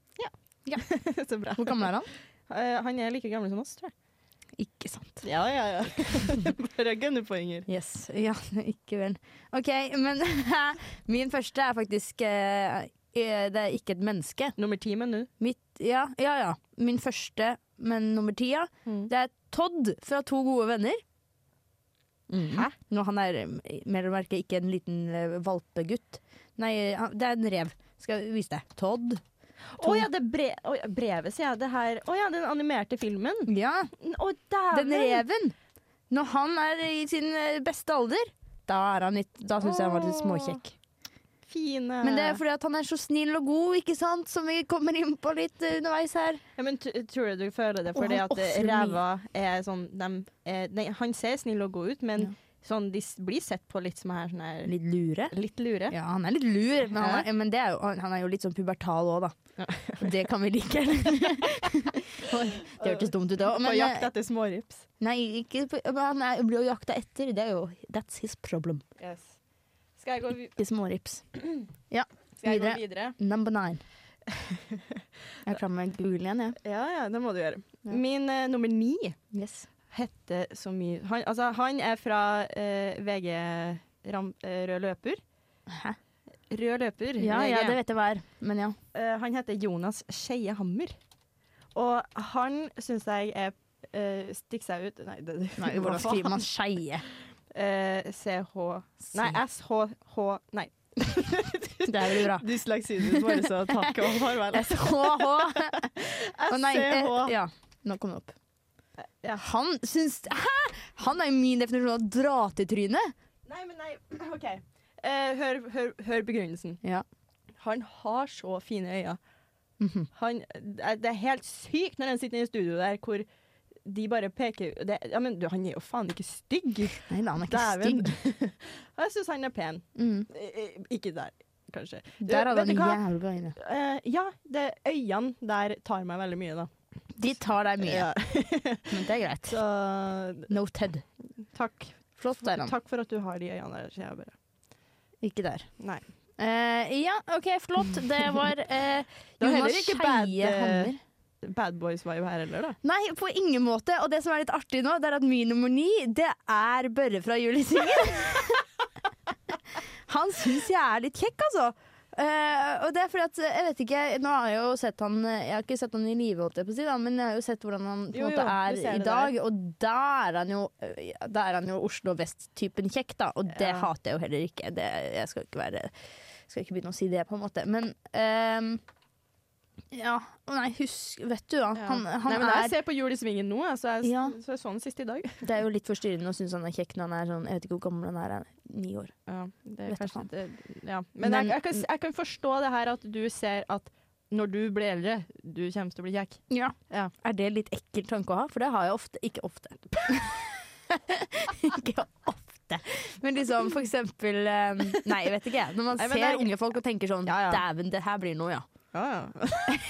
Speaker 2: Så bra.
Speaker 1: Hvor gammel er han?
Speaker 2: Eh, Han er like gammel som oss, tror jeg.
Speaker 1: Ikke sant.
Speaker 2: Ja, ja, ja. Bare gønne poenger.
Speaker 1: Yes. Ja, ikke vel. OK, men min første er faktisk eh, eh, Det er ikke et menneske.
Speaker 2: Nummer ti, men du?
Speaker 1: Mitt, ja, ja, ja. Min første, men nummer ti, ja.
Speaker 2: Mm.
Speaker 1: Det er Todd fra To gode venner.
Speaker 2: Hæ?
Speaker 1: Når han er eh, mer å merke ikke en liten eh, valpegutt. Nei, eh, han- det er en rev. Skal jeg vise deg. Todd.
Speaker 2: Å ja, det bre å ja, brevet, sier jeg. Det her Å ja, den animerte filmen.
Speaker 1: Ja,
Speaker 2: Å, dæven!
Speaker 1: den reven. Når han er i sin eh, beste alder, da, er han litt- da syns jeg han var litt småkjekk.
Speaker 2: Fine.
Speaker 1: Men det er fordi at han er så snill og god, ikke sant, som vi kommer inn på litt eh, underveis her.
Speaker 2: Ja, men t- tror du du føler det
Speaker 1: Og
Speaker 2: fordi
Speaker 1: han
Speaker 2: at eh,
Speaker 1: offrer mye.
Speaker 2: ræva er sånn dem, eh, nei, Han ser snill og god ut, men
Speaker 1: Ja.
Speaker 2: sånn, de s- blir sett på litt som her, sånn her
Speaker 1: Litt lure.
Speaker 2: litt lure.
Speaker 1: Ja, han er litt lur, men, han er, men det er jo, han er jo litt sånn pubertal òg, da. Og det kan vi like. Oi, det hørtes dumt ut, eh, det òg.
Speaker 2: På jakt etter smårips.
Speaker 1: Nei, ikke, på- men han er, blir jo jakta etter. Det er jo That's his problem.
Speaker 2: Skal jeg gå, vi-
Speaker 1: Ikke smårips. Ja,
Speaker 2: skal jeg gå
Speaker 1: videre.
Speaker 2: videre?
Speaker 1: Number nine. Jeg er klar med Google igjen, jeg.
Speaker 2: Ja, ja, det må du gjøre.
Speaker 1: Ja.
Speaker 2: Min eh, nummer ni
Speaker 1: Ja. Yes.
Speaker 2: heter så mye Han, altså, han er fra eh, VG ram, eh, Rød løper.
Speaker 1: Hæ?
Speaker 2: Rød løper.
Speaker 1: Ja,
Speaker 2: VG.
Speaker 1: ja, det vet jeg hva er. Men ja.
Speaker 2: Eh, han heter Jonas Skeie Hammer. Og han syns jeg er eh, Stikker seg ut Nei, det,
Speaker 1: Nei, hvordan skriver man skeie?
Speaker 2: Eh, CH Nei, SHH Nei.
Speaker 1: Det er vel bra.
Speaker 2: Dysleksien din bare så takk og farvel.
Speaker 1: SHH. Å nei. eh,
Speaker 2: SCH.
Speaker 1: Ja, nå kom det opp.
Speaker 2: Ja.
Speaker 1: Han syns Hæ?! Han er jo min definisjon av dra-til-tryne.
Speaker 2: Nei, men nei, OK. Eh, hør, hør, hør begrunnelsen.
Speaker 1: Ja.
Speaker 2: Han har så fine øyne.
Speaker 1: Mhm.
Speaker 2: Han, eh, det er helt sykt når han sitter i studio der hvor de bare peker det, ja, men, du, Han er jo faen ikke stygg!
Speaker 1: Nei da, han er ikke
Speaker 2: Dæven.
Speaker 1: stygg.
Speaker 2: Jeg syns han er pen.
Speaker 1: Mm.
Speaker 2: Eh, eh, Ikke der, kanskje. Du,
Speaker 1: Der hadde
Speaker 2: vet
Speaker 1: han
Speaker 2: du hva?
Speaker 1: jævlig bra øyne.
Speaker 2: Eh, ja, det, øynene der tar meg veldig mye, da.
Speaker 1: De tar deg mye,
Speaker 2: Ja.
Speaker 1: men det er greit.
Speaker 2: Så
Speaker 1: Noted.
Speaker 2: takk.
Speaker 1: Flott, Eiland.
Speaker 2: Takk for at du har de øynene der. sier jeg bare.
Speaker 1: Ikke der.
Speaker 2: Nei.
Speaker 1: Eh, ja, OK, flott. Det var eh,
Speaker 2: var heller
Speaker 1: Jonas
Speaker 2: ikke bad,
Speaker 1: Skeie
Speaker 2: eh,
Speaker 1: Hammer.
Speaker 2: Bad boys-vibe her heller, da.
Speaker 1: Nei, på ingen måte. Og det som er litt artig nå, det er at min nummer ni, det er Børre fra Julisingen. han syns jeg er litt kjekk, altså. Eh, og det er fordi at, jeg vet ikke, nå har jeg jo sett han eh, Jeg har ikke sett han i live, holdt jeg på å si, da, men jeg har jo sett hvordan han på en
Speaker 2: Jo, jo,
Speaker 1: måte
Speaker 2: du
Speaker 1: er
Speaker 2: ser
Speaker 1: i
Speaker 2: det
Speaker 1: dag. Og da er han jo, da er han jo Oslo Vest-typen kjekk, da. Og det
Speaker 2: Ja.
Speaker 1: hater jeg jo heller ikke. Det, jeg skal ikke være Skal ikke begynne å si det, på en måte. Men ehm, ja, nei, husk Vet du hva. Han, han
Speaker 2: Nei, men
Speaker 1: er
Speaker 2: Jeg ser på Jul i Svingen nå, jeg, så jeg
Speaker 1: Ja.
Speaker 2: så jeg så den sist i dag.
Speaker 1: det er jo litt forstyrrende å synes han er kjekk når han er sånn, jeg vet ikke hvor gammel han er, han er ni år.
Speaker 2: Ja, det er
Speaker 1: Vet du
Speaker 2: kanskje
Speaker 1: faen.
Speaker 2: ikke- ja. Men,
Speaker 1: Men-
Speaker 2: jeg, jeg, kan, jeg kan forstå det her at du ser at når du blir eldre, du kommer til å bli kjekk. Ja.
Speaker 1: Er det litt ekkel tanke å ha? For det har jeg ofte, ikke ofte. ikke ofte. Men liksom for eksempel, eh, nei jeg vet ikke, jeg. når man
Speaker 2: Nei, men
Speaker 1: ser
Speaker 2: det er-
Speaker 1: unge folk og tenker sånn,
Speaker 2: Ja, ja.
Speaker 1: dæven det her blir noe, ja.
Speaker 2: Ja, ja.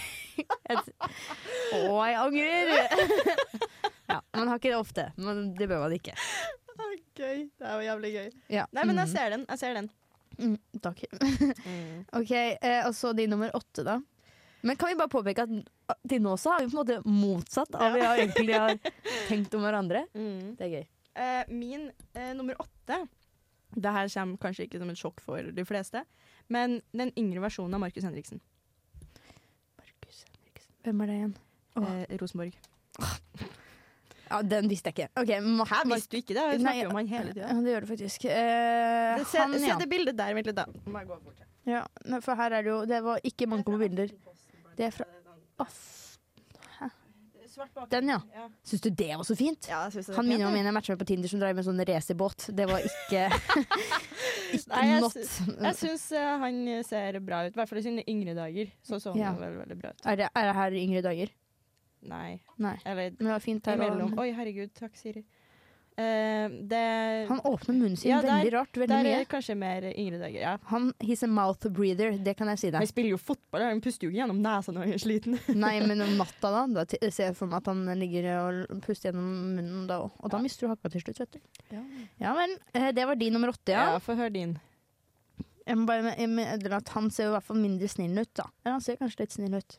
Speaker 1: Å, jeg angrer! ja, man har ikke det ofte, men det bør man ikke.
Speaker 2: Gøy. Det er jo jævlig gøy.
Speaker 1: Ja.
Speaker 2: Nei, men jeg ser den. Jeg ser den.
Speaker 1: Mm, takk.
Speaker 2: Mm.
Speaker 1: Ok, eh, og så de nummer åtte, da. Men kan vi bare påpeke at til nå så har vi på en måte motsatt av hva vi egentlig har tenkt om hverandre. Det er gøy.
Speaker 2: Eh, min eh, nummer åtte Det her kommer kanskje ikke som et sjokk for de fleste, men den yngre versjonen av Markus Henriksen.
Speaker 1: Markus Henriksen. Hvem er det igjen? Åh.
Speaker 2: Eh, Rosenborg.
Speaker 1: Ja, Den visste jeg ikke. Ok, Ma-
Speaker 2: Hæ,
Speaker 1: Mar-
Speaker 2: visste du ikke det? Vi
Speaker 1: Nei,
Speaker 2: snakker om han hele tida.
Speaker 1: Ja, det gjør det faktisk. Eh,
Speaker 2: Se,
Speaker 1: han,
Speaker 2: se
Speaker 1: ja.
Speaker 2: det bildet der, vent litt, da. Må jeg gå bort her.
Speaker 1: ja. nei, For her er det jo Det var ikke manko på bilder. Det er fra Aff.
Speaker 2: Svart bakgrunn.
Speaker 1: Den, ja.
Speaker 2: Ja.
Speaker 1: Syns du det var så fint?
Speaker 2: Ja, jeg synes det er
Speaker 1: Han minner
Speaker 2: pent,
Speaker 1: om
Speaker 2: jeg.
Speaker 1: en jeg matcha med på Tinder som drev med sånn racerbåt. Det var ikke Ikke
Speaker 2: Nei, jeg
Speaker 1: not.
Speaker 2: Jeg syns eh, han ser bra ut. I hvert fall i sine yngre dager så så han
Speaker 1: Ja.
Speaker 2: veldig, veldig bra ut.
Speaker 1: Er det, er det her yngre dager?
Speaker 2: Nei.
Speaker 1: Nei.
Speaker 2: Eller
Speaker 1: Men det var fint her
Speaker 2: imellom.
Speaker 1: òg.
Speaker 2: Oi, herregud. Takk, Siri. Eh, det
Speaker 1: Han åpner munnen sin
Speaker 2: Ja, der-
Speaker 1: veldig rart. veldig
Speaker 2: Der
Speaker 1: mye.
Speaker 2: er kanskje mer yngre dager, ja.
Speaker 1: Han he's a mouth breather, det kan jeg si
Speaker 2: Han
Speaker 1: deg.
Speaker 2: spiller jo fotball, han puster jo ikke gjennom nesa når han er sliten.
Speaker 1: Nei, men om natta, da. Da t- ser jeg for meg at han ligger og puster gjennom munnen da òg. Og da mister du hakka til slutt, vet du.
Speaker 2: Ja.
Speaker 1: Ja vel. eh, Det var de nummer åtte, ja.
Speaker 2: Få høre din.
Speaker 1: Jeg må bare jeg mener at Han ser jo i hvert fall mindre snill ut, da. Eller han ser kanskje litt snill ut.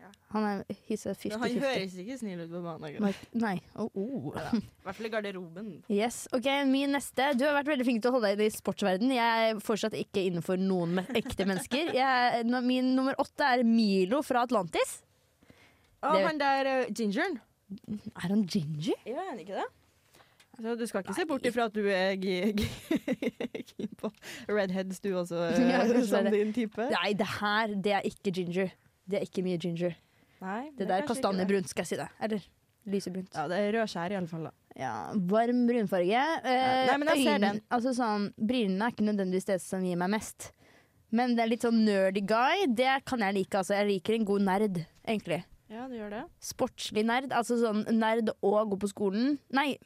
Speaker 2: Ja.
Speaker 1: Han er he's a 50-50.
Speaker 2: ikke snill ut på banen.
Speaker 1: Mark- Nei. Å, oh.
Speaker 2: I hvert fall i garderoben.
Speaker 1: Yes, ok, Min neste. Du har vært veldig flink til å holde deg i sportsverden. Jeg er fortsatt ikke innenfor noen me ekte mennesker. Jeg, nå- min nummer åtte er Milo fra Atlantis.
Speaker 2: Å,
Speaker 1: Det-
Speaker 2: han der eh, gingeren.
Speaker 1: Er han ginger?
Speaker 2: Ja, er han ikke det? Så Altså, du skal ikke se bort ifra at du er gi- gi- keen på redheads, du også, eh,
Speaker 1: Ja, kanskje
Speaker 2: som
Speaker 1: det.
Speaker 2: din type.
Speaker 1: Nei, det her det er ikke ginger. Det er ikke mye ginger.
Speaker 2: Nei,
Speaker 1: Det, der er kastanjebrunt, skal jeg si deg. Eller lysebrunt.
Speaker 2: Ja, det er rødskjær i alle fall, da.
Speaker 1: Ja, varm brunfarge. Eh,
Speaker 2: Nei, men jeg ser den.
Speaker 1: Altså sånn, Brynene er ikke nødvendigvis det som gir meg mest. Men det er litt sånn nerdy guy. Det kan jeg like. altså. Jeg liker en god nerd, egentlig.
Speaker 2: Ja, du gjør det.
Speaker 1: sportslig nerd. Altså sånn nerd og gå på skolen. Nei.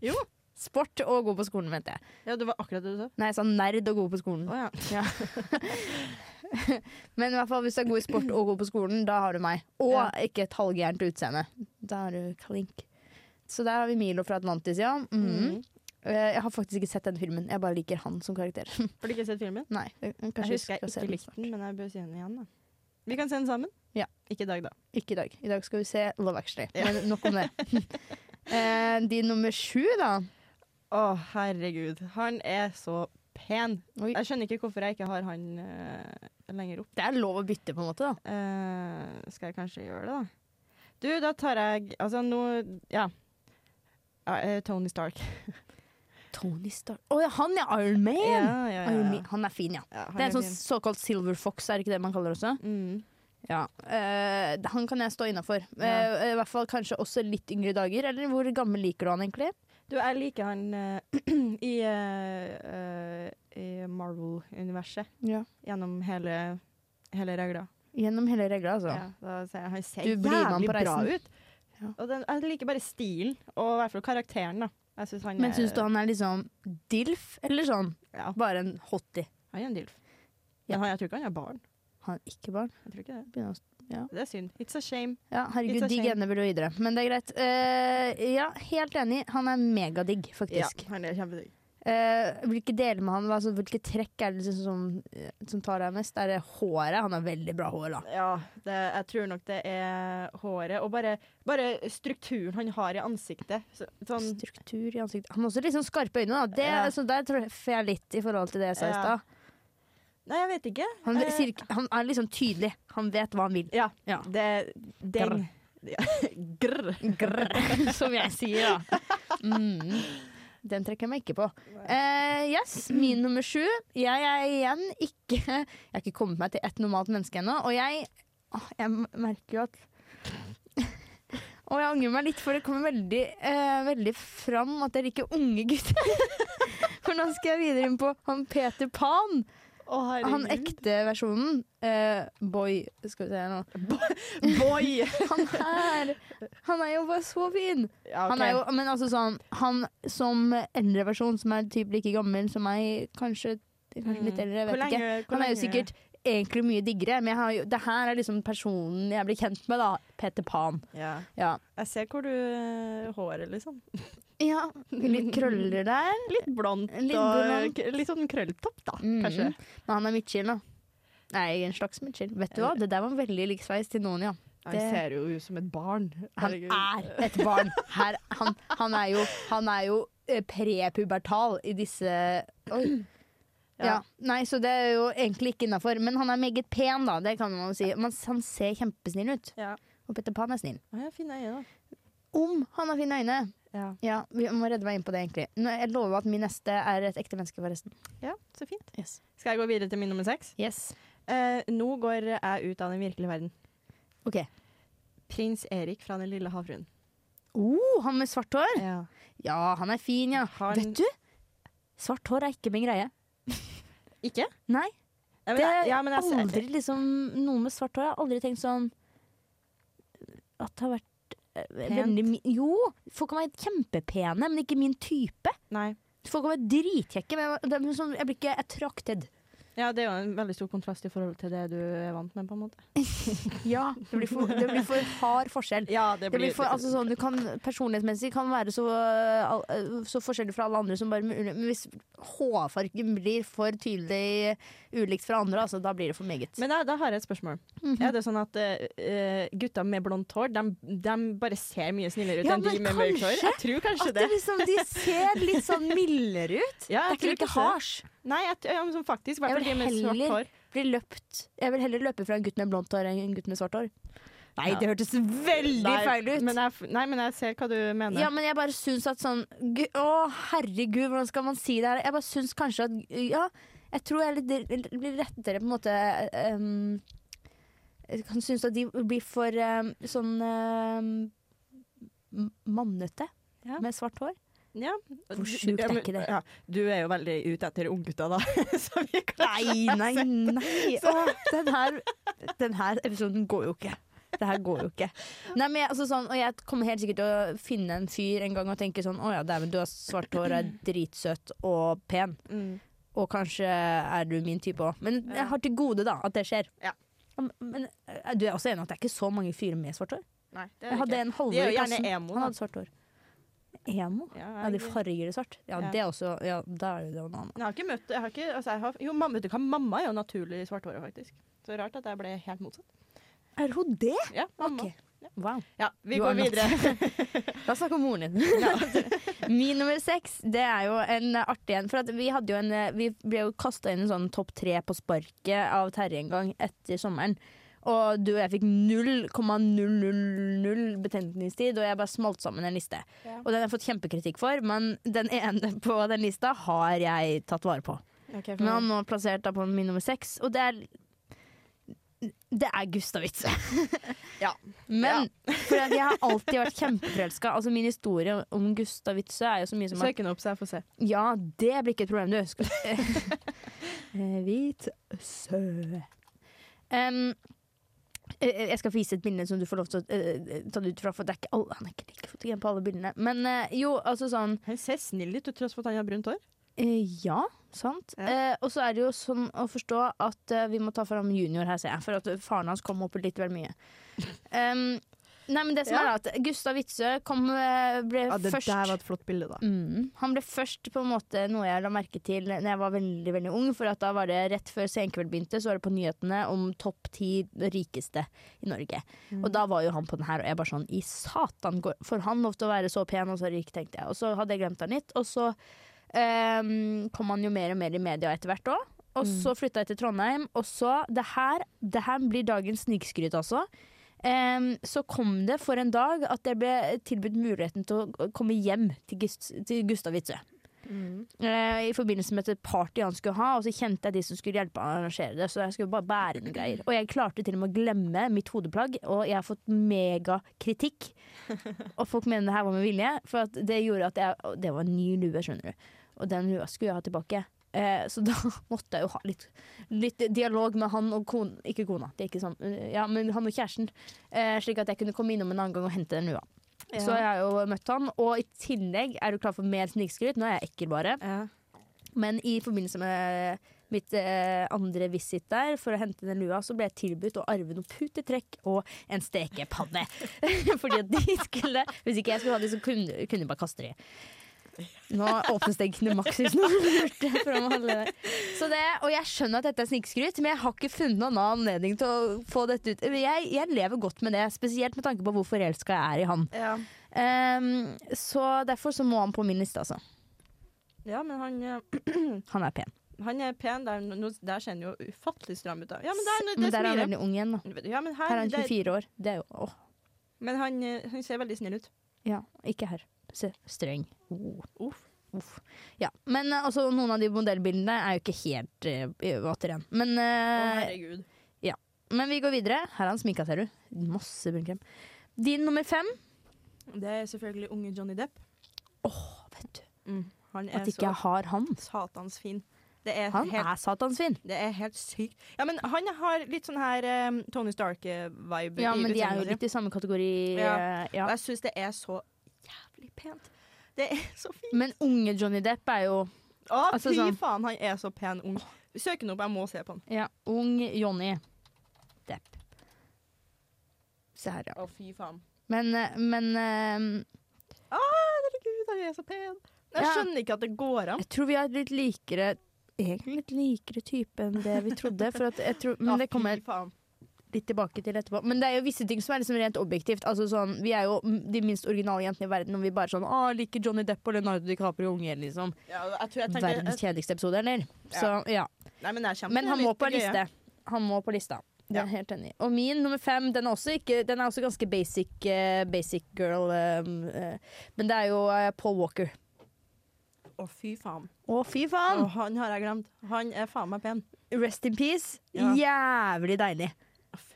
Speaker 2: Jo.
Speaker 1: Sport og gå på skolen, mente jeg.
Speaker 2: Ja, det var akkurat det du sa.
Speaker 1: Nei, jeg sa nerd og gå på skolen.
Speaker 2: Å ja.
Speaker 1: Men i hvert fall hvis du er god i sport og god på skolen, da har du meg. Og
Speaker 2: Ja.
Speaker 1: ikke et halvgærent utseende. Da har du klink. Så der har vi Milo fra Atlantis, ja. Mhm.
Speaker 2: Mm.
Speaker 1: Eh, Jeg har faktisk ikke sett den filmen. Jeg bare liker han som karakter.
Speaker 2: Har du ikke sett filmen?
Speaker 1: Nei, jeg- kanskje
Speaker 2: Jeg husker
Speaker 1: skal
Speaker 2: jeg
Speaker 1: se
Speaker 2: ikke likte
Speaker 1: snart.
Speaker 2: den, men jeg bør se den igjen. da. Vi kan se den sammen.
Speaker 1: Ja.
Speaker 2: Ikke i dag, da.
Speaker 1: Ikke i dag. I dag skal vi se Love Actually.
Speaker 2: Ja.
Speaker 1: Men nok om det. Eh, De nummer sju, da.
Speaker 2: Å, herregud. Han er så pen.
Speaker 1: Oi.
Speaker 2: Jeg skjønner ikke hvorfor jeg ikke har han eh, lenger opp.
Speaker 1: Det er lov å bytte, på en måte. da
Speaker 2: Eh, skal jeg kanskje gjøre det, da? Du, da tar jeg Altså, nå Ja. Ja, eh, Tony Stark.
Speaker 1: Tony Stark Å ja, han er Iron Man!
Speaker 2: Ja, ja, ja,
Speaker 1: Iron
Speaker 2: ja.
Speaker 1: Man. Han er fin, ja.
Speaker 2: Ja, han
Speaker 1: Det er en
Speaker 2: er
Speaker 1: sånn
Speaker 2: fin.
Speaker 1: såkalt silver fox, er det ikke det man kaller det også?
Speaker 2: Mm.
Speaker 1: Ja. han kan jeg stå innafor. Eh, I hvert fall kanskje også litt yngre dager. Eller hvor gammel liker du han egentlig?
Speaker 2: Du, jeg liker han eh, i, eh, eh, i Marvel-universet gjennom hele, hele regla.
Speaker 1: Gjennom hele regla, altså.
Speaker 2: Ja, da ser jeg, han ser
Speaker 1: Du blir med han
Speaker 2: jævlig
Speaker 1: på
Speaker 2: bra
Speaker 1: reisen.
Speaker 2: ut.
Speaker 1: Ja.
Speaker 2: Og den, jeg liker bare stilen, og i hvert fall karakteren. da. Jeg synes han
Speaker 1: Men
Speaker 2: er-
Speaker 1: syns du han er liksom dilf, eller sånn?
Speaker 2: Ja,
Speaker 1: Bare en hottie?
Speaker 2: han er en dilf.
Speaker 1: Ja.
Speaker 2: Men han, jeg tror ikke han er barn.
Speaker 1: Han har ikke barn.
Speaker 2: Jeg tror ikke det.
Speaker 1: Begynner å-
Speaker 2: Det er synd. It's a shame.
Speaker 1: Ja, herregud,
Speaker 2: It's a
Speaker 1: de
Speaker 2: shame.
Speaker 1: genene burde gå videre. Men det er greit. Eh, ja, helt enig. Han er megadigg, faktisk.
Speaker 2: han er kjempedigg.
Speaker 1: Eh, hvilke deler med han, altså, hvilke trekk er det liksom som, eh, som tar deg mest? Er det håret? Han har veldig bra hår, da.
Speaker 2: Ja, det, jeg tror nok det er håret og bare, bare strukturen han har i ansiktet. Så, sånn
Speaker 1: Struktur i ansiktet. Han har også liksom skarpe øyne, da. Det,
Speaker 2: Ja.
Speaker 1: så der treffer jeg litt i forhold til det jeg sa i
Speaker 2: Ja.
Speaker 1: stad.
Speaker 2: Nei, jeg vet ikke.
Speaker 1: Han,
Speaker 2: Eh,
Speaker 1: sier ikke- han er liksom tydelig. Han vet hva han vil.
Speaker 2: Ja.
Speaker 1: Ja.
Speaker 2: Det den. Ja, Grr.
Speaker 1: Grr, som jeg sier, da. Mm. Den trekker jeg meg ikke på. Eh, yes, min nummer sju. Jeg er igjen ikke Jeg har ikke kommet meg til ett normalt menneske ennå, og jeg Åh, Jeg merker jo at Og jeg angrer meg litt, for det kommer veldig, eh, veldig fram at jeg liker unge gutter. For nå skal jeg videre inn på han Peter Pan,
Speaker 2: Å, herregud.
Speaker 1: han ekte versjonen. Eh, boy Skal vi se her nå.
Speaker 2: Boy!
Speaker 1: Han er, han er jo bare så fin!
Speaker 2: Ja, ok.
Speaker 1: Han er jo, men altså sånn, han som eldre versjon, som er typ like gammel som meg, kanskje, kanskje litt eldre, jeg
Speaker 2: Mm. Hvor
Speaker 1: vet
Speaker 2: lenge-
Speaker 1: ikke.
Speaker 2: hvor
Speaker 1: Han er jo
Speaker 2: lenge-
Speaker 1: sikkert egentlig mye diggere, men jeg har jo, det her er liksom personen jeg blir kjent med, da. Peter Pan.
Speaker 2: ja.
Speaker 1: Ja.
Speaker 2: Jeg ser hvor du eh, Håret, liksom.
Speaker 1: ja litt krøller der.
Speaker 2: Litt blondt
Speaker 1: Litt blondt.
Speaker 2: og k- litt sånn krølltopp, da,
Speaker 1: Mm.
Speaker 2: kanskje.
Speaker 1: Men han er midtskill, da. Nei, en slags midtskill. Vet du hva, det der var en veldig lik sveis til noen, ja.
Speaker 2: Han
Speaker 1: Det-
Speaker 2: ser jo ut som et barn.
Speaker 1: Han
Speaker 2: Herregud.
Speaker 1: er et barn. Her, han, han er jo, han er jo eh, prepubertal i disse Oi.
Speaker 2: Ja.
Speaker 1: Ja. Nei, så det er jo egentlig ikke innafor. Men han er meget pen, da. Det kan man jo si. Men han ser kjempesnill ut.
Speaker 2: Ja.
Speaker 1: Og Peter Pan er snill.
Speaker 2: Han har fine øyne, da.
Speaker 1: Om han har fine øyne.
Speaker 2: Ja.
Speaker 1: Ja, vi må redde meg inn på det, egentlig. Nå, jeg lover at min neste er et ekte menneske, forresten.
Speaker 2: ja, så fint.
Speaker 1: Yes.
Speaker 2: Skal jeg gå videre til min nummer seks? Eh, nå går jeg ut av den virkelige verden.
Speaker 1: OK.
Speaker 2: Prins Erik fra Den lille havfruen.
Speaker 1: Oh, han med svart hår.
Speaker 2: Ja.
Speaker 1: Ja, han er fin, ja.
Speaker 2: Han-
Speaker 1: Vet du? Svart hår er ikke min greie.
Speaker 2: Ikke?
Speaker 1: Nei.
Speaker 2: Ja, men
Speaker 1: Det
Speaker 2: jeg-
Speaker 1: er
Speaker 2: ja, men altså, jeg-
Speaker 1: aldri liksom Noe med svart hår. Jeg har aldri tenkt sånn At det har vært eh, veldig mi- Jo, folk kan være kjempepene, men ikke min type.
Speaker 2: Nei.
Speaker 1: Folk kan være dritkjekke, men jeg, det er sånn, jeg blir ikke attracted.
Speaker 2: Ja, det er jo en veldig stor kontrast i forhold til det du er vant med, på en måte.
Speaker 1: Ja, det blir for, det blir for hard forskjell.
Speaker 2: Ja,
Speaker 1: Det blir for, altså sånn, du kan, personlighetsmessig kan være så, øh, all- øh, så forskjellig fra alle andre som bare mulig. Men hvis hårfargen blir for tydelig ulikt fra andre, altså, da blir det for meget.
Speaker 2: Men da, da har jeg et spørsmål.
Speaker 1: Mhm.
Speaker 2: Er det sånn at eh, gutter med blondt hår de, bare ser mye snillere ut
Speaker 1: Ja,
Speaker 2: enn de
Speaker 1: men
Speaker 2: med mørkt hår?
Speaker 1: kanskje
Speaker 2: Jeg tror kanskje
Speaker 1: at det
Speaker 2: det.
Speaker 1: liksom, de ser litt sånn mildere ut.
Speaker 2: Ja,
Speaker 1: det
Speaker 2: jeg
Speaker 1: er ikke like
Speaker 2: tror kanskje det.
Speaker 1: harsh.
Speaker 2: Nei, jeg, t- ja, men sånn faktisk.
Speaker 1: Jeg
Speaker 2: I hvert fall
Speaker 1: vil
Speaker 2: de med svart
Speaker 1: heller-
Speaker 2: hår.
Speaker 1: Blir løpt. Jeg vil heller løpe fra en gutt med blondt hår enn en gutt med svart hår. Nei,
Speaker 2: Ja.
Speaker 1: det hørtes veldig
Speaker 2: Nei,
Speaker 1: feil ut.
Speaker 2: Men jeg, f- nei, men jeg ser hva du mener.
Speaker 1: Ja, men jeg bare syns at sånn gu- Å, herregud, hvordan skal man si det her? Jeg bare syns kanskje at Ja, jeg tror jeg er litt, blir rettere på en måte ehm, Jeg kan synes at de blir for ehm, sånn ehm, m- mannete
Speaker 2: Ja.
Speaker 1: med svart hår.
Speaker 2: Ja.
Speaker 1: Hvor sjukt
Speaker 2: Ja,
Speaker 1: er
Speaker 2: men-
Speaker 1: ikke det?
Speaker 2: Ja, du er jo veldig ute etter unggutta, da. Så vi kan
Speaker 1: Nei, nei, nei! Å, den, her, den her episoden går jo ikke. Det her går jo ikke. Nei, men jeg, altså sånn, og jeg kommer helt sikkert til å finne en fyr en gang og tenke sånn Å ja, dæven, du har svart hår, er dritsøt og pen.
Speaker 2: Mm.
Speaker 1: Og kanskje er du min type òg. Men jeg har til gode da at det skjer.
Speaker 2: Ja.
Speaker 1: Men eh, du er også enig i at det er ikke så mange fyrer med svart hår?
Speaker 2: Nei, det er
Speaker 1: Jeg hadde
Speaker 2: ikke.
Speaker 1: en
Speaker 2: De er
Speaker 1: halvår i
Speaker 2: jo gjerne
Speaker 1: klassen.
Speaker 2: emo,
Speaker 1: Han
Speaker 2: da.
Speaker 1: hadde svart hår. Emo?
Speaker 2: Ja,
Speaker 1: Ja, de
Speaker 2: jeg-
Speaker 1: farger i svart. Ja,
Speaker 2: Ja.
Speaker 1: det er også Ja, da er det jo noe annet.
Speaker 2: Jeg har ikke møtt jeg har ikke, altså jeg har, Jo, mamma, vet du hva, mamma er jo naturlig svarthåret, faktisk. Så rart at jeg ble helt motsatt.
Speaker 1: Er hun det?
Speaker 2: Ja, mamma.
Speaker 1: Ok. Wow.
Speaker 2: Ja, vi
Speaker 1: You
Speaker 2: går
Speaker 1: are not.
Speaker 2: videre.
Speaker 1: La oss snakke om moren din. Altså, Min nummer seks, det er jo en eh, artig en. For at vi, hadde jo en, eh, vi ble jo kasta inn i en sånn topp tre på sparket av Terje en gang etter sommeren. Og du og jeg fikk 0,000 betenkningstid, og jeg bare smalt sammen en liste. Og den har jeg fått kjempekritikk for, men den ene på den lista har jeg tatt vare på.
Speaker 2: Ok, for-
Speaker 1: Men han nå plassert da på min nummer seks, og det er Det er Gustav Itze.
Speaker 2: Ja.
Speaker 1: Men for at jeg har alltid vært kjempeforelska. Altså, min historie om Gustav Itze er jo så mye som at
Speaker 2: Søk den opp, så jeg får se.
Speaker 1: Ja, det blir ikke et problem, du. Skal, Eh, hvit sø. Em, eh, jeg skal få vise et bilde som du får lov til å eh, ta det ut fra, for det er ikke alle, han er ikke like fotogen på alle bildene. Men eh, jo, altså sånn
Speaker 2: Han ser snill ut, til tross for at han har brunt hår.
Speaker 1: Eh, ja, sant.
Speaker 2: Ja.
Speaker 1: Eh, og så er det jo sånn å forstå at eh, vi må ta fram junior her, ser jeg. For at faren hans kom opp litt vel mye. Um, nei, men det som er
Speaker 2: Ja.
Speaker 1: at Gustav Witzøe kom eh, ble
Speaker 2: Ja, det
Speaker 1: først
Speaker 2: der var et flott bilde, da.
Speaker 1: Mm. Han ble først på en måte noe jeg la merke til Når jeg var veldig veldig ung. For at da var det Rett før Senkveld begynte, så var det på nyhetene om topp ti rikeste i Norge. Og da var jo han på den her, og jeg bare sånn I satan, går- får han lov til å være så pen og så rik, tenkte jeg. Og så hadde jeg glemt han litt. Og så ehm, kom han jo mer og mer i media etter hvert òg. Og så flytta jeg til Trondheim, og så Det her, det her blir dagens snikskryt, altså. Ehm, så kom det for en dag at jeg ble tilbudt muligheten til å komme hjem til, Gust til Gustav Witzøe. Eh, I forbindelse med et party han skulle ha, og så kjente jeg de som skulle hjelpe han å arrangere det. Så jeg skulle bare bære noen greier. Og jeg klarte til og med å glemme mitt hodeplagg, og jeg har fått megakritikk. Og folk mener det her var med vilje, for at det gjorde at jeg og Det var en ny lue, skjønner du. Og den lua skulle jeg ha tilbake. Eh, så da måtte jeg jo ha litt, litt dialog med han og kona Ikke kona, det er ikke sånn. Ja, men han og kjæresten. Eh, slik at jeg kunne komme innom en annen gang og hente den lua. Så jeg har jo møtt han. Og i tillegg, er du klar for mer snikskryt? Nå er jeg ekkel, bare.
Speaker 2: Ja.
Speaker 1: Men i forbindelse med mitt eh, andre visit der for å hente den lua, så ble jeg tilbudt å arve noen putetrekk og en stekepanne. Fordi at de skulle Hvis ikke jeg skulle ha de, så kunne, kunne de bare kaste de. Nå åpnes det ikke noe maksis nå. lurte jeg fra meg alle der. Så det, og jeg skjønner at dette er snikskryt, men jeg har ikke funnet noen annen anledning til å få dette ut. Jeg, jeg lever godt med det, spesielt med tanke på hvor forelska jeg er i han.
Speaker 2: Ja.
Speaker 1: Ehm, så derfor så må han på min liste, altså.
Speaker 2: ja, men han, eh,
Speaker 1: Han er pen.
Speaker 2: han er pen. Der, nå- der ser han jo ufattelig stram ut. da. Ja, men der, nå-
Speaker 1: Men
Speaker 2: det
Speaker 1: der er han
Speaker 2: smiler.
Speaker 1: veldig ung igjen. da
Speaker 2: Ja, men
Speaker 1: Her
Speaker 2: her,
Speaker 1: er han
Speaker 2: det-
Speaker 1: 24 år. Det er jo åh,
Speaker 2: men han, eh, han ser veldig snill ut.
Speaker 1: ja, ikke her. Se, streng. Oh.
Speaker 2: Uff.
Speaker 1: Uff. Ja, men eh, altså, noen av de modellbildene er jo ikke helt eh, vater igjen. Men,
Speaker 2: Å,
Speaker 1: eh,
Speaker 2: herregud.
Speaker 1: men vi går videre. Her er han sminka, ser du. Masse brunkrem. Din nummer fem.
Speaker 2: Det er selvfølgelig unge Johnny Depp.
Speaker 1: Å, vet du,
Speaker 2: Han er
Speaker 1: mm. at ikke
Speaker 2: så
Speaker 1: jeg har han.
Speaker 2: satans fin. Det er,
Speaker 1: Han
Speaker 2: helt,
Speaker 1: er satansvin.
Speaker 2: det er helt sykt. Ja, men han har litt sånn her eh, Tony Stark-vibe.
Speaker 1: Ja,
Speaker 2: i
Speaker 1: men de er
Speaker 2: utseendet
Speaker 1: jo
Speaker 2: sitt.
Speaker 1: litt i samme kategori.
Speaker 2: Ja.
Speaker 1: eh, ja.
Speaker 2: Og jeg syns det er så jævlig pent. Det er så fint.
Speaker 1: Men unge Johnny Depp er jo
Speaker 2: Å,
Speaker 1: Altså,
Speaker 2: fy
Speaker 1: sånn-
Speaker 2: faen, han er så pen ung. Søk han opp, jeg må se på han.
Speaker 1: Ja, ung Johnny Depp. Se her, ja.
Speaker 2: Å, fy faen.
Speaker 1: Men, eh, men eh,
Speaker 2: Å, herregud, han er så pen. Jeg
Speaker 1: Ja.
Speaker 2: skjønner ikke at det går an.
Speaker 1: jeg tror vi har litt likere Egentlig litt likere type enn det vi trodde. For at jeg tror, men det kommer jeg
Speaker 2: Å, fy faen.
Speaker 1: litt tilbake til etterpå. Men det er jo visse ting som er liksom rent objektivt. Altså sånn, vi er jo mm, de minst originale jentene i verden om vi bare sånn Å, liker Johnny Depp og Leonardo DiCaprio unge, liksom.
Speaker 2: Ja, jeg tror jeg tenker,
Speaker 1: Verdens kjedeligste episode, eller? Så ja.
Speaker 2: nei, men, jeg kommer
Speaker 1: Men han
Speaker 2: litt
Speaker 1: må på
Speaker 2: gøye.
Speaker 1: liste. Han må på lista. Det er jeg helt enig. i. Og min nummer fem, den er også, ikke, den er også ganske basic, eh, basic girl. eh, eh, men det er jo eh, Paul Walker.
Speaker 2: Å, fy faen.
Speaker 1: Å, fy
Speaker 2: Å,
Speaker 1: faen!
Speaker 2: han har jeg glemt. Han er faen meg pen.
Speaker 1: Rest in peace.
Speaker 2: Ja.
Speaker 1: Jævlig deilig.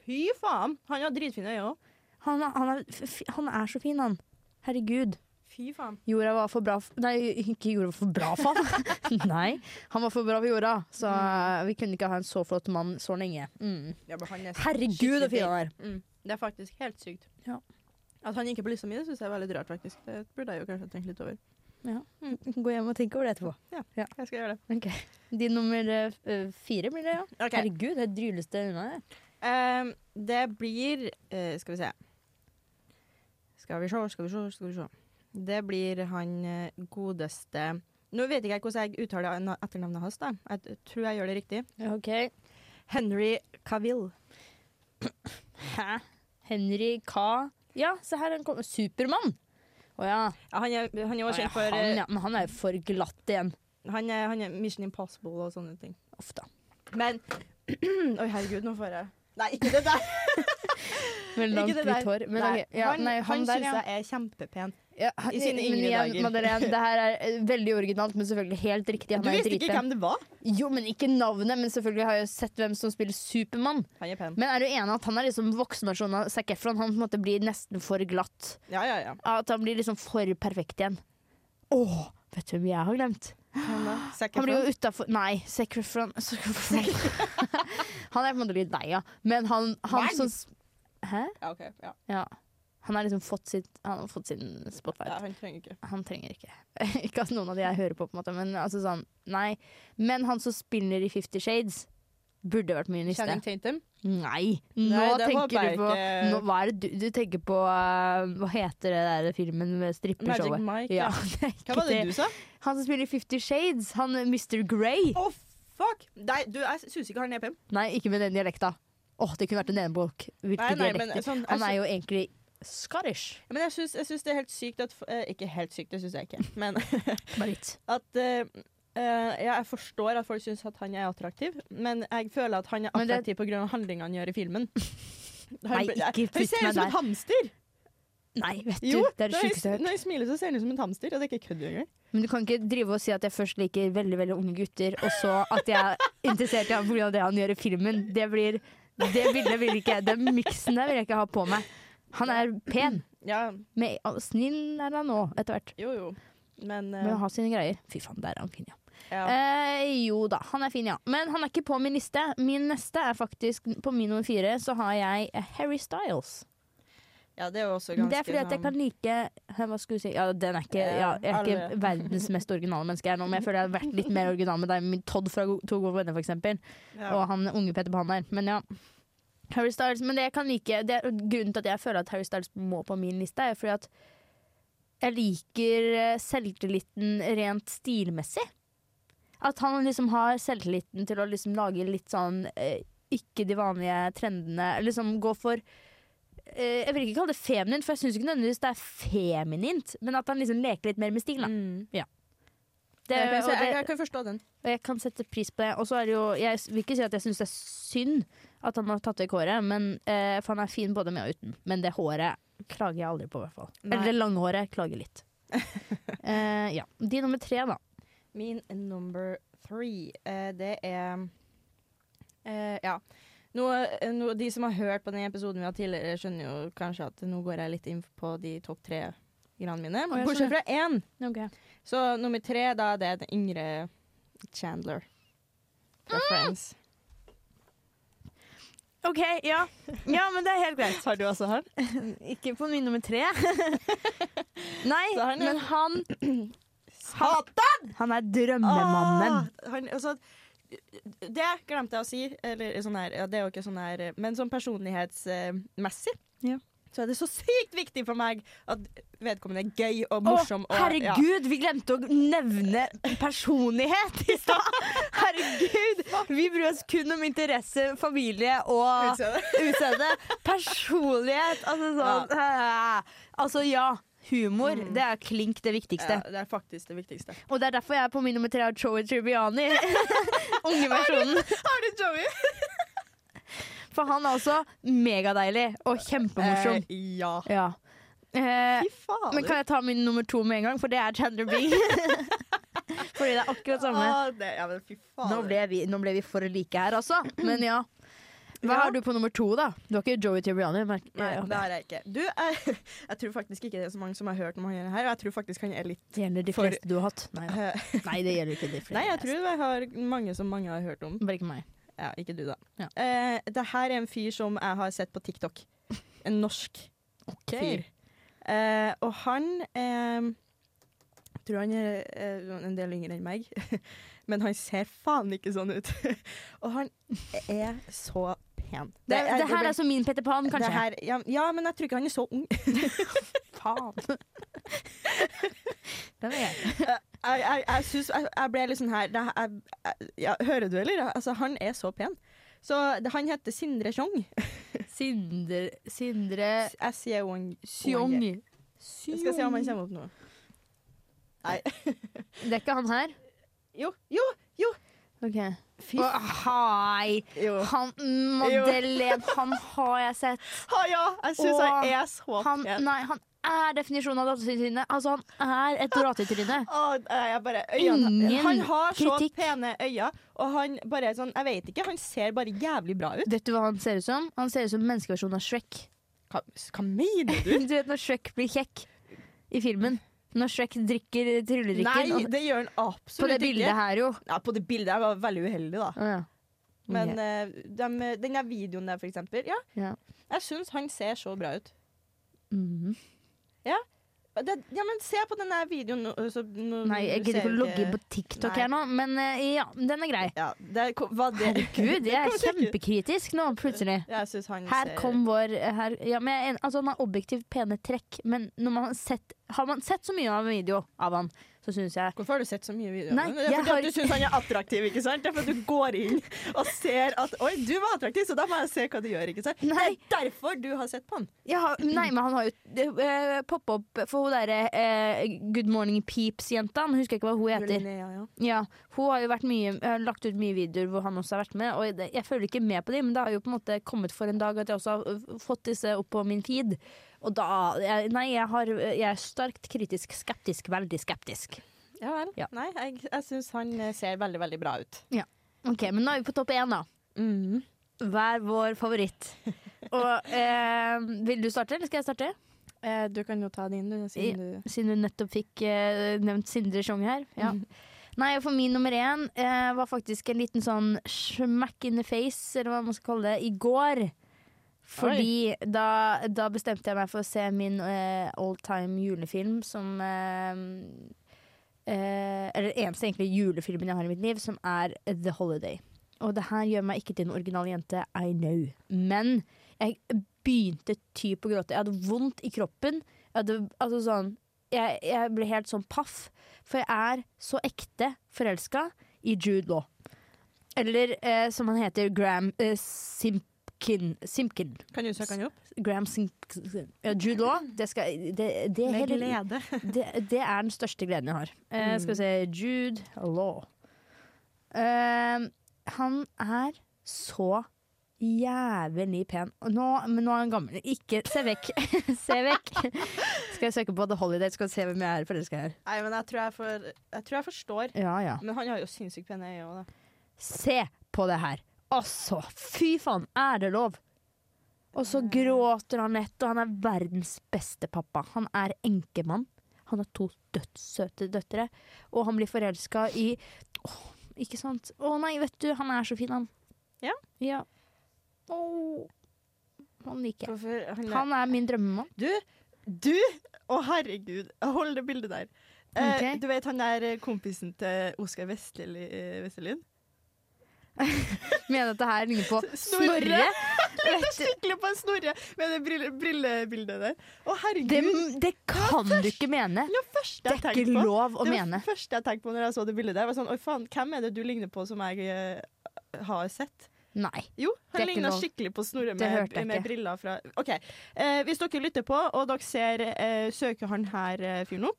Speaker 2: Fy faen! Han har dritfine øyne òg.
Speaker 1: Han, er- han, er, f- f- han er så fin, han. Herregud.
Speaker 2: Fy faen.
Speaker 1: Jorda var for bra f- Nei, ikke jorda var for bra for han. nei, han var for bra for jorda. Så eh, vi kunne ikke ha en så flott mann så lenge. Mm.
Speaker 2: Ja, men han er
Speaker 1: Herregud, så fin han er.
Speaker 2: Mm. Det er faktisk helt sykt.
Speaker 1: Ja.
Speaker 2: At han ikke er på lista mi, det syns jeg er veldig rart, faktisk. Det burde jeg jo kanskje tenke litt over.
Speaker 1: Mm, Gå hjem og tenk over det etterpå.
Speaker 2: Jeg skal gjøre det.
Speaker 1: Ok, De nummer eh, f- eh, fire blir det, ja.
Speaker 2: Ok.
Speaker 1: Herregud, det dryles det unna. jeg.
Speaker 2: Ehm, det blir eh, Skal vi se. Skal vi se, skal vi se, skal vi se. Det blir han eh, godeste Nå vet ikke jeg hvordan jeg uttaler na- etternavnet hans, da. Jeg t- tror jeg gjør det riktig.
Speaker 1: Ok.
Speaker 2: Henry Cavill.
Speaker 1: Hæ? Henry K. Ja, se her. han kommer. Supermann! Å ja.
Speaker 2: Ja, han er han er
Speaker 1: Å
Speaker 2: også
Speaker 1: ja,
Speaker 2: kjent for
Speaker 1: han,
Speaker 2: eh,
Speaker 1: ja. Men han er jo for glatt igjen.
Speaker 2: han, er, han er Mission Impossible og sånne ting.
Speaker 1: Ofte.
Speaker 2: Men Oi, herregud, nå får jeg Nei, ikke det der!
Speaker 1: Med
Speaker 2: Ikke
Speaker 1: langt,
Speaker 2: det
Speaker 1: hvitt
Speaker 2: der.
Speaker 1: hår. Men
Speaker 2: Nei,
Speaker 1: ok, ja,
Speaker 2: han
Speaker 1: nei,
Speaker 2: han,
Speaker 1: der,
Speaker 2: syns
Speaker 1: ja.
Speaker 2: jeg er kjempepen.
Speaker 1: Ja, han-
Speaker 2: i sine
Speaker 1: men
Speaker 2: yngre
Speaker 1: igjen,
Speaker 2: dager.
Speaker 1: Madeleine, det her er eh, veldig originalt, men selvfølgelig helt riktig. Han
Speaker 2: Du
Speaker 1: er jo
Speaker 2: visste ikke
Speaker 1: dritpen.
Speaker 2: hvem det var?
Speaker 1: Jo, men ikke navnet, men selvfølgelig har jeg jo sett hvem som spiller Supermann.
Speaker 2: Han er pen.
Speaker 1: Men er du enig at han er liksom voksenversjonen av Zac Efron? Han på en måte blir nesten for glatt.
Speaker 2: Ja, ja, ja.
Speaker 1: At han blir liksom for perfekt igjen. Åh, vet du hvem jeg har glemt?
Speaker 2: Han, da? Zac
Speaker 1: Han blir
Speaker 2: Efron?
Speaker 1: jo utafor Nei, Sacrofron Han er på en måte litt deg, ja. Men han, han
Speaker 2: Nei.
Speaker 1: som s- Hæ?
Speaker 2: Ja, ok, ja.
Speaker 1: Ja. Han har liksom fått, sitt, han har fått sin spotlight.
Speaker 2: Ja, han trenger ikke.
Speaker 1: Han trenger ikke. ikke at noen av de jeg hører på, på en måte, men altså sånn, nei. Men han som spiller i Fifty Shades, burde vært mye nyste.
Speaker 2: Channing Tatum?
Speaker 1: Nei! Nå
Speaker 2: Nei, det håper
Speaker 1: tenker
Speaker 2: jeg
Speaker 1: du på
Speaker 2: ikke.
Speaker 1: nå, Hva er det du, du tenker på eh, Hva heter det der filmen med
Speaker 2: Magic
Speaker 1: strippershowet?
Speaker 2: Mike?
Speaker 1: Ja,
Speaker 2: Ja.
Speaker 1: det er
Speaker 2: Hva
Speaker 1: ikke
Speaker 2: var det
Speaker 1: det.
Speaker 2: du sa?
Speaker 1: Han som spiller i Fifty Shades, han eh, Mr. Grey.
Speaker 2: Å, fuck! Nei, du, jeg syns ikke han er pen.
Speaker 1: Nei, ikke med den dialekta. Åh, det kunne vært en enebok. Hvilke
Speaker 2: Nei, nei, men,
Speaker 1: dialekter?
Speaker 2: sånn, jeg
Speaker 1: Han er jo egentlig Scottish.
Speaker 2: Men jeg syns, jeg syns det er helt sykt at eh, Ikke helt sykt, det syns jeg ikke. Men
Speaker 1: Bare litt.
Speaker 2: at eh, eh, ja, Jeg forstår at folk syns at han er attraktiv, men jeg føler at han er
Speaker 1: Men det-
Speaker 2: attraktiv pga. handlingene han gjør i filmen.
Speaker 1: Nei,
Speaker 2: ble-
Speaker 1: ikke
Speaker 2: han
Speaker 1: putt meg
Speaker 2: ser ut som et
Speaker 1: der.
Speaker 2: hamster!
Speaker 1: Nei, vet du.
Speaker 2: Jo,
Speaker 1: det er det
Speaker 2: når,
Speaker 1: sjukeste jeg
Speaker 2: jeg,
Speaker 1: har hørt.
Speaker 2: når jeg smiler, så ser han ut som et hamster. Og det er ikke kødd engang.
Speaker 1: Men du kan ikke drive og si at jeg først liker veldig veldig unge gutter, og så at jeg er interessert i ham pga. det han gjør i filmen. Det blir Det bildet vil ikke jeg Den miksen der vil jeg ikke ha på meg. Han er pen.
Speaker 2: Ja,
Speaker 1: Men snill er han nå, etter hvert.
Speaker 2: jo, jo. Men, eh,
Speaker 1: Men han har sine greier. Fy faen, der er han fin, ja.
Speaker 2: ja.
Speaker 1: Eh, jo da, han er fin, ja. Men han er ikke på min liste. Min neste er faktisk På min nummer fire så har jeg eh, Harry Styles.
Speaker 2: ja, det er jo også
Speaker 1: Men
Speaker 2: ganske sånn
Speaker 1: Det er fordi at jeg kan like hæ, Hva skulle du si? Ja, den er ikke, ja, jeg er
Speaker 2: Ja,
Speaker 1: ikke
Speaker 2: alle.
Speaker 1: verdens mest originale menneske jeg er nå, men jeg føler jeg har vært litt mer original med deg. Min Todd fra Go- To gode venner, for eksempel.
Speaker 2: ja.
Speaker 1: Og han unge Petter Pan der. Men ja. Harry Styles, men det jeg kan like det er Grunnen til at jeg føler at Harry Styles må på min liste, er fordi at jeg liker eh, selvtilliten rent stilmessig. At han liksom har selvtilliten til å liksom lage litt sånn eh, ikke de vanlige trendene. Liksom gå for eh, Jeg vil ikke kalle det feminint, for jeg syns ikke nødvendigvis det er feminint. Men at han liksom leker litt mer med stil, da.
Speaker 2: Mm.
Speaker 1: Det,
Speaker 2: jeg, kan,
Speaker 1: og
Speaker 2: se- jeg,
Speaker 1: det-
Speaker 2: jeg kan forstå den.
Speaker 1: og jeg kan sette pris på det. Og så er det jo, jeg vil ikke si at jeg syns det er synd at han har tatt vekk håret, men, eh, for han er fin både med og uten. Men det håret klager jeg aldri på, i hvert fall.
Speaker 2: Nei.
Speaker 1: Eller det lange håret klager litt. eh, ja. De nummer tre, da.
Speaker 2: Min number three, eh, det er eh, Ja. Nå, eh, nå, de som har hørt på den episoden vi har tidligere, skjønner jo kanskje at nå går jeg litt inn på de topp tre greiene mine.
Speaker 1: Å, jeg
Speaker 2: Bortsett fra én.
Speaker 1: Okay.
Speaker 2: Så nummer tre, da det er den yngre Chandler. Fra Friends.
Speaker 1: OK, ja. Ja, men det er helt greit.
Speaker 2: Har du også han?
Speaker 1: Ikke på min nummer tre. Nei,
Speaker 2: Så han er-
Speaker 1: men han,
Speaker 2: Satan!
Speaker 1: han er drømmemannen.
Speaker 2: Ah, han, altså, det glemte jeg å si. Eller, sånn her, ja, det er jo ikke sånn her, men sånn personlighetsmessig
Speaker 1: Ja.
Speaker 2: så er det så sykt viktig for meg at vedkommende er gøy og
Speaker 1: Å,
Speaker 2: morsom. og,
Speaker 1: herregud, vi glemte å nevne personlighet i stad! Herregud! Vi bryr oss kun om interesse, familie
Speaker 2: Ja,
Speaker 1: og
Speaker 2: utseende.
Speaker 1: utseende. Personlighet, altså sånn Altså ja, humor. Det er klink det
Speaker 2: Mm. ja,
Speaker 1: viktigste.
Speaker 2: det er faktisk det viktigste.
Speaker 1: Og det er derfor jeg er på min nummer tre av Joey Tribbiani. Unge versjonen.
Speaker 2: Har du Joey?
Speaker 1: For han er også megadeilig og kjempemorsom.
Speaker 2: Eh, ja.
Speaker 1: Ja. Eh,
Speaker 2: Fy fader.
Speaker 1: Men kan jeg ta min nummer to med en gang, for det er Chandler Bing. Fordi det er akkurat samme.
Speaker 2: Ah, det, ja, men fy fader.
Speaker 1: Nå ble, vi, nå ble vi for like her, altså. Men ja. Hva
Speaker 2: Ja.
Speaker 1: har du på nummer to, da? Du har ikke Joey Tribbiani? merk-
Speaker 2: Nei,
Speaker 1: Ja,
Speaker 2: det
Speaker 1: ok.
Speaker 2: har jeg ikke. Du, jeg, jeg tror faktisk ikke det er så mange som har hørt om han her, og jeg tror faktisk han er litt
Speaker 1: Det gjelder de
Speaker 2: For-
Speaker 1: fleste du har hatt. Nei, da. Nei det gjelder ikke de fleste.
Speaker 2: Nei, jeg tror jeg har mange som mange har hørt om.
Speaker 1: Bare ikke meg.
Speaker 2: Ja, ikke du, da.
Speaker 1: Ja.
Speaker 2: Eh, det her er en fyr som jeg har sett på TikTok. En norsk fyr. Eh, og han eh, jeg tror han er eh, en del yngre enn meg, men han ser faen ikke sånn ut. og han er så pen.
Speaker 1: Det, det her er som min Petter Pan,
Speaker 2: det
Speaker 1: kanskje.
Speaker 2: her, ja, ja, men jeg tror ikke han er så ung.
Speaker 1: Faen. Den er jeg.
Speaker 2: jeg, jeg, jeg, synes, jeg, jeg ble litt sånn her det, jeg, jeg, ja, Hører du, eller? Altså, han er så pen. Så det, han heter Sindre Tjong.
Speaker 1: Sindre Sindre
Speaker 2: S-J-O-N.
Speaker 1: Sjong.
Speaker 2: Jeg skal se om han kommer opp nå.
Speaker 1: Det er ikke han her?
Speaker 2: Jo, jo,
Speaker 1: OK.
Speaker 2: fy
Speaker 1: Å, hei!
Speaker 2: jo.
Speaker 1: Han Madeleine, han har jeg sett.
Speaker 2: Ha, ja, jeg syns
Speaker 1: Åh,
Speaker 2: han er så
Speaker 1: Han,
Speaker 2: pen.
Speaker 1: nei, han er definisjonen av datatryne. Altså, han er et datatryne.
Speaker 2: Åh, nei, jeg bare, øynene,
Speaker 1: Ingen
Speaker 2: han har så
Speaker 1: kritikk.
Speaker 2: pene øyne, og han bare er sånn Jeg vet ikke, han ser bare jævlig bra ut.
Speaker 1: Vet du hva han ser ut som? Han ser ut som menneskeversjonen av Shrek.
Speaker 2: Hva, hva mener du?
Speaker 1: Du vet når Shrek blir kjekk i filmen? Når Shrek drikker
Speaker 2: Nei,
Speaker 1: trylledrikken. og-
Speaker 2: det gjør han
Speaker 1: På
Speaker 2: absolutt
Speaker 1: det bildet
Speaker 2: ikke.
Speaker 1: her, jo.
Speaker 2: Ja, på det bildet her var jeg veldig uheldig, da.
Speaker 1: Å, ja.
Speaker 2: Men
Speaker 1: Ok.
Speaker 2: eh, dem, eh, den der videoen der, for eksempel. Ja.
Speaker 1: Ja.
Speaker 2: Jeg syns han ser så bra ut.
Speaker 1: Mhm.
Speaker 2: mm, Det, ja, men se på denne videoen. nå, Så, nå,
Speaker 1: Nei, jeg gidder ikke å logge inn på TikTok
Speaker 2: Nei.
Speaker 1: her nå, men eh, ja, den er grei.
Speaker 2: ja, det, er- hva det,
Speaker 1: Gud, jeg er
Speaker 2: kommer til å-
Speaker 1: kjempekritisk nå, plutselig.
Speaker 2: Jeg synes han
Speaker 1: Her
Speaker 2: ser-
Speaker 1: kom vår her, ja, men jeg, er en- altså, Han har objektivt pene trekk, men når man har, sett, har man sett så mye av en video av han, så syns jeg
Speaker 2: Hvorfor har du sett så mye videoer?
Speaker 1: Nei,
Speaker 2: av ham? det er
Speaker 1: jeg
Speaker 2: fordi
Speaker 1: har-
Speaker 2: at du syns han er attraktiv, ikke sant? Det er fordi at du går inn og ser at Oi, du var attraktiv, så da må jeg se hva du gjør, ikke sant?
Speaker 1: Nei.
Speaker 2: Det er derfor du har sett på han.
Speaker 1: Jeg har, nei, men han har jo uh, poppa opp for hun derre eh, Good Morning Peeps-jenta. Nå husker jeg ikke hva hun heter.
Speaker 2: Linnea, ja.
Speaker 1: Ja, hun har jo vært mye, eh, lagt ut mye videoer hvor han også har vært med. Og det- jeg følger ikke med på dem, men det har jo på en måte kommet for en dag at jeg også har eh, fått disse opp på min feed. Og da jeg, Nei, jeg, har, jeg er sterkt kritisk skeptisk. Veldig skeptisk.
Speaker 2: Ja vel.
Speaker 1: Ja.
Speaker 2: Nei, jeg, jeg syns han eh, ser veldig, veldig bra ut.
Speaker 1: Ok, Men nå er vi på topp én, da. Mm. Hver vår favoritt. Og eh, Vil du starte, eller skal jeg starte?
Speaker 2: Eh, du kan jo ta din, du, siden du
Speaker 1: Siden du nettopp fikk eh, nevnt Sindre Sjong her. Ja. Nei, for min nummer én eh, var faktisk en liten sånn smack in the face, eller hva man skal kalle det, i går. Fordi da, da bestemte jeg meg for å se min eh, old time julefilm som eh, eh, Eller eneste egentlig julefilmen jeg har i mitt liv, som er The Holiday. Og det her gjør meg ikke til en original jente, I know. Men jeg begynte typ å gråte. Jeg hadde vondt i kroppen. Jeg, hadde, altså sånn, jeg, jeg ble helt sånn paff, for jeg er så ekte forelska i Jude Law. Eller eh, som han heter, Graham eh, Simpkin. Simpkin.
Speaker 2: Kan du søke han opp?
Speaker 1: Graham Simpkin. Ja, Jude Law. Det, skal, det, det, er hele, det, det er den største gleden jeg har. Eh, skal vi se Jude Law. Eh, han er så jævlig pen. Og Nå, men nå er han gammel. Ikke se vekk! se vekk! skal jeg søke på The Holiday, skal vi se hvem jeg er forelska i her.
Speaker 2: Nei, men jeg tror jeg, for, jeg tror jeg forstår.
Speaker 1: Ja, ja.
Speaker 2: Men han har jo sinnssykt pene øyne òg, da.
Speaker 1: Se på det her! Altså, fy faen, er det lov? Og så gråter han lett, og han er verdens beste pappa. Han er enkemann. Han har to dødssøte døtre, og han blir forelska i Åh, ikke sant? Å nei, vet du, han er så fin, han.
Speaker 2: Ja.
Speaker 1: ja. Åh. Han liker jeg.
Speaker 2: Hvorfor han er-
Speaker 1: Han er min drømmemann.
Speaker 2: Du, du, å herregud, hold det bildet der. Eh,
Speaker 1: Ok.
Speaker 2: Du vet han der eh, kompisen til Oskar Vestleli- eh, Vestelin?
Speaker 1: Mener at det her ligner på
Speaker 2: Snorre.
Speaker 1: Snorre.
Speaker 2: Jeg Skikkelig på en snorre med det brille- brillebildet der. Å herregud,
Speaker 1: Det,
Speaker 2: det
Speaker 1: det kan du ikke mene!
Speaker 2: var det første
Speaker 1: Det
Speaker 2: jeg
Speaker 1: er
Speaker 2: tenkte
Speaker 1: ikke
Speaker 2: på.
Speaker 1: lov å
Speaker 2: det var
Speaker 1: mene.
Speaker 2: det første jeg tenkte på når jeg så det bildet der. Jeg Var sånn, Oi, faen, hvem er det du ligner på som jeg eh, har sett?
Speaker 1: Nei. Det
Speaker 2: Jo,
Speaker 1: er
Speaker 2: han
Speaker 1: ikke
Speaker 2: ligna
Speaker 1: lov.
Speaker 2: skikkelig på Snorre
Speaker 1: Det
Speaker 2: med,
Speaker 1: hørte jeg
Speaker 2: med
Speaker 1: ikke.
Speaker 2: briller fra OK. Eh, hvis dere lytter på, og dere ser eh, Søker han her eh, fyren opp?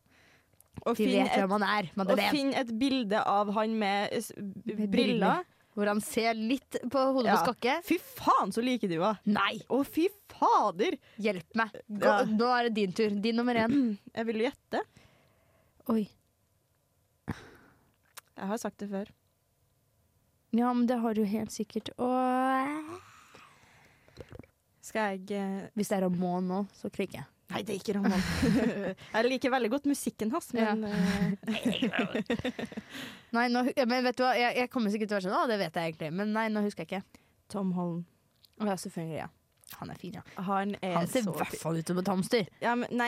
Speaker 2: Og
Speaker 1: De
Speaker 2: finner
Speaker 1: vet
Speaker 2: et
Speaker 1: hvem han er,
Speaker 2: Og
Speaker 1: Madeleine.
Speaker 2: finn et bilde av han med s-
Speaker 1: briller.
Speaker 2: briller.
Speaker 1: Hvor han ser litt på hodet
Speaker 2: Ja.
Speaker 1: på skakke.
Speaker 2: Fy faen, så liker du henne!
Speaker 1: Nei,
Speaker 2: Å, fy fader!
Speaker 1: hjelp meg. Gå,
Speaker 2: Ja.
Speaker 1: Nå er det din tur. Din nummer én.
Speaker 2: Jeg vil jo gjette.
Speaker 1: Oi.
Speaker 2: Jeg har sagt det før.
Speaker 1: Ja, men det har du helt sikkert. Og
Speaker 2: Skal jeg eh,
Speaker 1: hvis det er Ramón nå, så klikker jeg.
Speaker 2: Nei, det er ikke Ramón. jeg liker veldig godt musikken hans, men eh,
Speaker 1: Nei, nå, ja, men vet du hva? Jeg, jeg kommer sikkert til å være sånn, å, det vet jeg egentlig. Men nei, nå husker jeg ikke.
Speaker 2: Tom Holland.
Speaker 1: Å, ja, selvfølgelig, ja. Han er fin, ja.
Speaker 2: Han er
Speaker 1: Han ser i
Speaker 2: så
Speaker 1: hvert
Speaker 2: fin.
Speaker 1: fall ut som et hamster.
Speaker 2: Ja, men nei,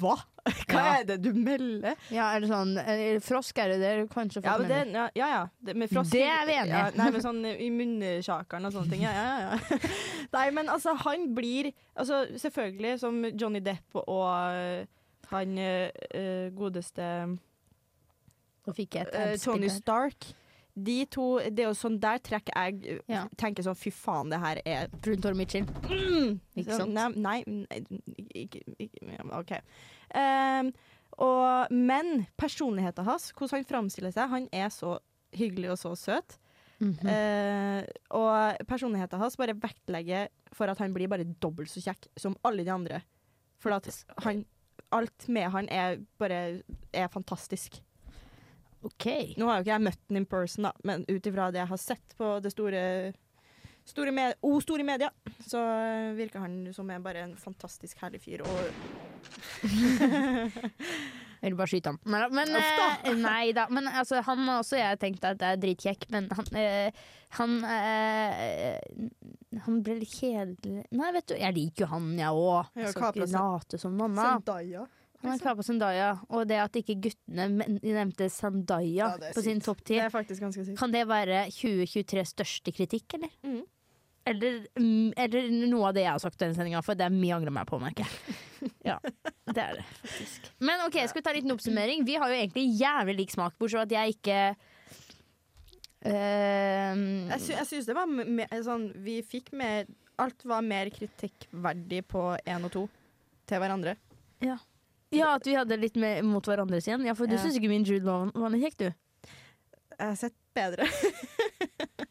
Speaker 2: hva? Hva
Speaker 1: Ja.
Speaker 2: er det du melder?
Speaker 1: Ja, er det sånn eh, Frosk er det der, kanskje.
Speaker 2: Ja, men det,
Speaker 1: det,
Speaker 2: ja, ja. ja. Det, med frosk,
Speaker 1: Det er vi enige i.
Speaker 2: ja, Nei, men sånn i munnsjakeren og sånne ting. Ja, ja, ja. Nei, men altså, han blir altså, Selvfølgelig, som Johnny Depp og øh, han øh, øh, godeste
Speaker 1: Nå fikk jeg et
Speaker 2: øh,
Speaker 1: abspill
Speaker 2: Tony
Speaker 1: her.
Speaker 2: Stark. De to, det er jo sånn der trekk jeg øh,
Speaker 1: Ja.
Speaker 2: tenker sånn, fy faen, det her er
Speaker 1: Brunt hår, Mitchell. Ikke
Speaker 2: så-
Speaker 1: sant?
Speaker 2: Nei, nei, nei ikke, ikke, ja, OK. Ehm, og, men personligheten hans, hvordan han framstiller seg, han er så hyggelig og så søt.
Speaker 1: Mhm.
Speaker 2: Eh, og personligheten hans bare vektlegger for at han blir bare dobbelt så kjekk som alle de andre. For at han, alt med han er bare er fantastisk.
Speaker 1: OK.
Speaker 2: Nå har jo ikke jeg møtt han in person, da, men ut ifra det jeg har sett på det store Store med, o store media, så virker han som en, bare en fantastisk herlig fyr. Og
Speaker 1: Jeg vil bare skyte han. Neida, men,
Speaker 2: Uff
Speaker 1: eh, nei da. Men altså, han har også jeg tenkt at det er dritkjekk, men han eh, han, eh, han ble litt kjedelig Nei, vet du, jeg liker jo han, jeg òg.
Speaker 2: Ja,
Speaker 1: Jeg skal
Speaker 2: Kapra
Speaker 1: ikke
Speaker 2: sin-
Speaker 1: late som noen annen.
Speaker 2: Zendaya.
Speaker 1: Han er klar på Zendaya, og det at ikke guttene men- nevnte Zendaya
Speaker 2: Ja, det er
Speaker 1: på sin
Speaker 2: sykt.
Speaker 1: topp
Speaker 2: Det
Speaker 1: 10,
Speaker 2: er faktisk ganske sykt.
Speaker 1: kan det være 2023 største kritikk, eller?
Speaker 2: Mhm.
Speaker 1: Eller, mm, eller noe av det jeg har sagt i denne sendinga, for det er mye jeg angrer meg på, merker jeg. Ja, det er det faktisk. Men ok, skal vi ta en liten oppsummering? Vi har jo egentlig jævlig lik smak, bortsett fra at jeg ikke Ehm,
Speaker 2: Jeg, sy jeg syns det var me- me- sånn Vi fikk mer Alt var mer kritikkverdig på én og to til hverandre.
Speaker 1: Ja, at vi hadde litt mer mot hverandres igjen. Ja, for du
Speaker 2: Ja.
Speaker 1: syns ikke min Jude Law var noe kjekk, du?
Speaker 2: Jeg har sett bedre.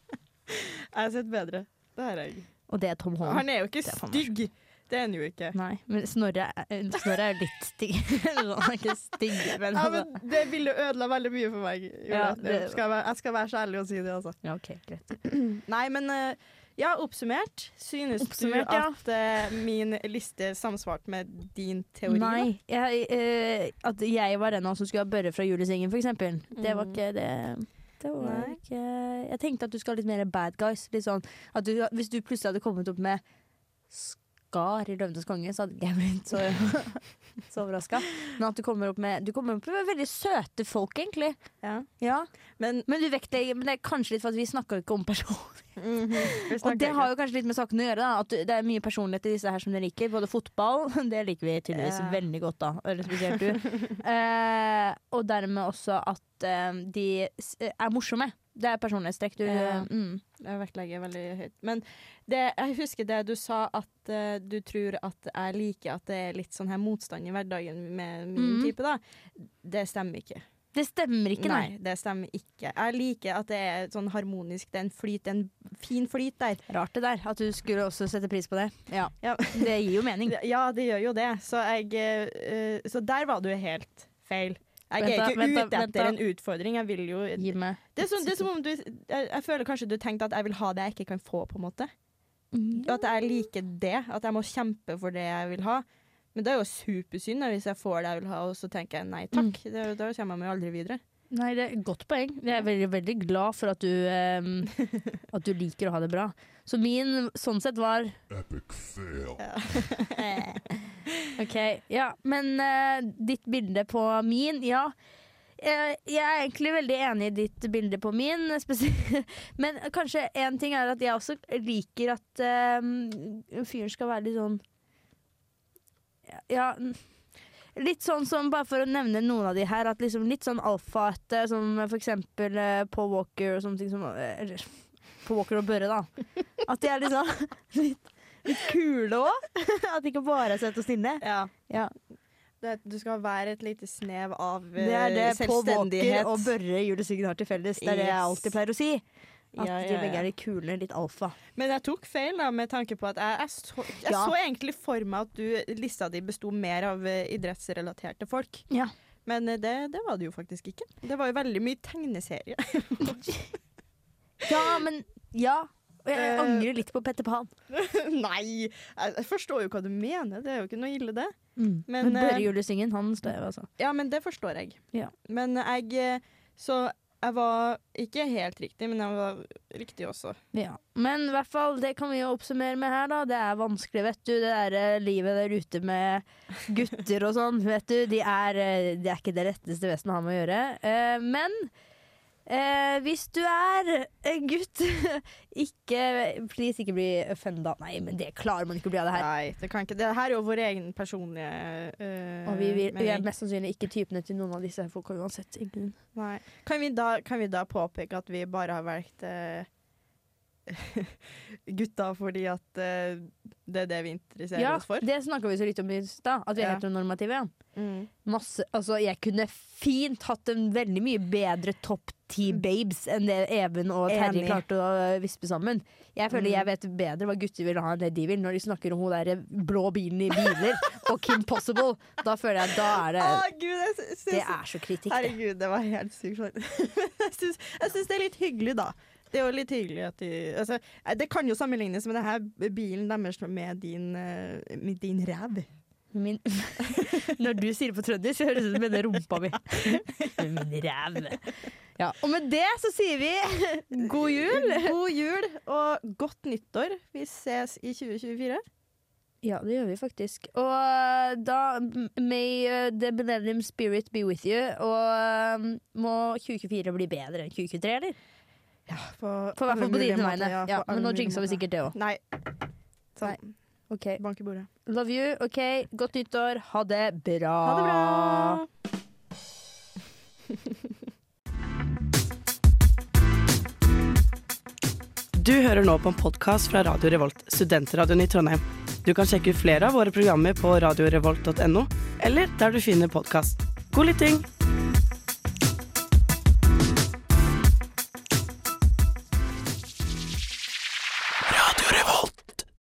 Speaker 2: jeg har sett bedre. Det har jeg.
Speaker 1: Og det er Tom Holland.
Speaker 2: Han er jo ikke
Speaker 1: Det er faen meg
Speaker 2: stygg! Det er han jo ikke.
Speaker 1: Nei, men Snorre, er- eh, Snorre er jo litt stygg. Han er ikke stygg, men,
Speaker 2: Ja,
Speaker 1: altså-
Speaker 2: men det bildet ødela veldig mye for meg. Julia.
Speaker 1: Ja,
Speaker 2: det...
Speaker 1: det-
Speaker 2: skal jeg, være- jeg skal være så ærlig og si det, altså.
Speaker 1: ja, ok, greit.
Speaker 2: Nei, men eh, ja, oppsummert. Synes
Speaker 1: Oppsummert,
Speaker 2: du
Speaker 1: ja.
Speaker 2: at eh, min liste samsvarte med din teori?
Speaker 1: Nei. Jeg, eh, at jeg var en av oss som skulle ha Børre fra Julesengen, for eksempel. Det var
Speaker 2: Mm.
Speaker 1: ikke det. Det var
Speaker 2: Nei.
Speaker 1: ikke Jeg tenkte at du skal ha litt mer bad guys. Litt sånn, at du, hvis du plutselig hadde kommet opp med Skar i 'Løvenes konge', så hadde ikke jeg blitt så, så overraska. Men at du kommer opp med Du kommer opp med veldig søte folk, egentlig.
Speaker 2: Ja.
Speaker 1: Ja.
Speaker 2: Men
Speaker 1: Men du vektlegger Men det er kanskje litt for at vi snakker jo ikke om person.
Speaker 2: mhm, vi
Speaker 1: Og det
Speaker 2: snakker
Speaker 1: har jo kanskje litt med sakene å gjøre. Da. At det er mye personlighet i disse her som dere liker. Både fotball, det liker vi tydeligvis
Speaker 2: Ja.
Speaker 1: veldig godt, da. Eller spesielt du. eh, og dermed også at eh, de s- er morsomme. Det er personlighetstrekk du
Speaker 2: Ja.
Speaker 1: mm.
Speaker 2: Jeg vektlegger veldig høyt. Men det, jeg husker det du sa, at eh, du tror at jeg liker at det er litt sånn her motstand i hverdagen med min
Speaker 1: Mhm.
Speaker 2: type, da. Det stemmer ikke.
Speaker 1: Det stemmer ikke, nei.
Speaker 2: det stemmer ikke. Jeg liker at det er sånn harmonisk, det er en flyt, det er en fin flyt der.
Speaker 1: Rart det der. At du skulle også sette pris på det. Ja.
Speaker 2: Ja.
Speaker 1: Det gir jo mening.
Speaker 2: Ja, det gjør jo det. Så, jeg, eh, så der var du helt feil. Jeg
Speaker 1: Vent da,
Speaker 2: er ikke
Speaker 1: vent da,
Speaker 2: ute
Speaker 1: vent
Speaker 2: etter
Speaker 1: da.
Speaker 2: en utfordring. Jeg vil jo
Speaker 1: Gi meg
Speaker 2: Det er, sånn, det er som om du jeg, jeg føler kanskje du tenkte at jeg vil ha det jeg ikke kan få, på en måte.
Speaker 1: Ja.
Speaker 2: At jeg liker det, at jeg må kjempe for det jeg vil ha. Men det er jo supersynd da, hvis jeg får det jeg vil ha, og så tenker jeg nei takk. Det, er jo- da kommer jeg meg jo aldri videre.
Speaker 1: Nei, det er et godt poeng. Jeg er veldig, veldig glad for at du, em, at du liker å ha det bra. Så min sånn sett var
Speaker 6: Epic fail.
Speaker 1: Ok, ja, men eh, ditt bilde på min, ja. Eh, jeg er egentlig veldig enig i ditt bilde på min, spesi- men kanskje en ting er at jeg også liker at eh, fyren skal være litt sånn Ja, n- litt sånn som, bare for å nevne noen av de her, at liksom litt sånn alfaete, som for eksempel eh, Paul Walker og sånne ting som eh, Eller Paul Walker og Børre, da. At de er liksom litt, litt kule òg. At de ikke bare er søte og snille. Ja.
Speaker 2: Det, du skal være et lite snev av eh,
Speaker 1: Det er det Paul Walker
Speaker 2: selvstendighet.
Speaker 1: og Børre Julesyggen har til felles. Det er det jeg
Speaker 2: Yes.
Speaker 1: alltid pleier å si. At
Speaker 2: Ja,
Speaker 1: de
Speaker 2: ja,
Speaker 1: begge
Speaker 2: ja.
Speaker 1: er litt kule, litt alfa.
Speaker 2: Men jeg tok feil da, med tanke på at jeg, jeg, så, jeg
Speaker 1: Ja.
Speaker 2: så egentlig for meg at du, lista di besto mer av eh, idrettsrelaterte folk.
Speaker 1: Ja.
Speaker 2: Men eh, det, det var det jo faktisk ikke. Det var jo veldig mye tegneserie.
Speaker 1: Ja, men ja. Og jeg
Speaker 2: Eh,
Speaker 1: angrer litt på Petter Pan.
Speaker 2: Nei, jeg jeg forstår jo hva du mener. Det er jo ikke noe ille, det.
Speaker 1: Men,
Speaker 2: men,
Speaker 1: Børre
Speaker 2: eh,
Speaker 1: Julesyngen, han står jo altså.
Speaker 2: Ja, men det forstår jeg.
Speaker 1: Ja.
Speaker 2: Men jeg eh, Så jeg var ikke helt riktig, men jeg var riktig også.
Speaker 1: Ja. Men i hvert fall, det kan vi jo oppsummere med her, da. Det er vanskelig, vet du. Det der eh, livet der ute med gutter og sånn, vet du. De er, eh, de er ikke det retteste vesen å ha med å gjøre. Eh, men eh, hvis du er en gutt, ikke Please, ikke bli offenda. Nei, men det klarer man ikke å bli av det her.
Speaker 2: Nei, det kan ikke Det her er jo vår egen personlige eh,
Speaker 1: Og vi, vil, vi er
Speaker 2: mening.
Speaker 1: mest sannsynlig ikke typene til noen av disse folka uansett. i grunnen.
Speaker 2: Nei. Kan, vi da, kan vi da påpeke at vi bare har valgt eh, gutta fordi at eh, det er det vi interesserer
Speaker 1: Ja,
Speaker 2: oss for?
Speaker 1: det snakka vi så litt om i stad, at vi er
Speaker 2: Ja.
Speaker 1: heteronormative. Ja.
Speaker 2: Mm.
Speaker 1: Masse, altså jeg kunne fint hatt en veldig mye bedre topp ti babes enn det Even og Terje
Speaker 2: Mm. Enig. Mm.
Speaker 1: klarte å eh, vispe sammen. Jeg føler jeg vet bedre hva gutter vil ha enn det de vil, når de snakker om hun der blå bilen i biler og Kim Possible. Da føler jeg at da er det
Speaker 2: Å, Gud, jeg sy- syns
Speaker 1: Det er så kritikk, det.
Speaker 2: Herregud, det var helt sykt. faktisk. jeg syns- jeg syns det er litt hyggelig, da. Det er jo litt hyggelig at de altså, eh, Det kan jo sammenlignes med denne bilen deres med din, eh, med din ræv.
Speaker 1: Min Når du sier det på trønder, så høres det ut som denne rumpa mi. Min ræv. Ja, og med det så sier vi god jul.
Speaker 2: God jul og godt nyttår. Vi ses i 2024.
Speaker 1: Ja, det gjør vi faktisk. Og da may uh, the millennium spirit be with you. Og um, må 2024 bli bedre enn 2023, eller?
Speaker 2: På,
Speaker 1: For i hvert
Speaker 2: alle
Speaker 1: fall på
Speaker 2: mulige
Speaker 1: dine
Speaker 2: måter,
Speaker 1: vegne.
Speaker 2: ja, på
Speaker 1: Ja,
Speaker 2: alle
Speaker 1: men nå
Speaker 2: mulige
Speaker 1: jinxa vi
Speaker 2: måter.
Speaker 1: sikkert det òg.
Speaker 2: Nei. Sånn.
Speaker 1: OK.
Speaker 2: Bank i bordet.
Speaker 1: Love you. OK, godt nyttår. Ha det bra.
Speaker 2: Ha det bra!
Speaker 6: Du hører nå på en podkast fra Radio Revolt, studentradioen i Trondheim. Du kan sjekke ut flere av våre programmer på radiorevolt.no, eller der du finner podkast. God lytting!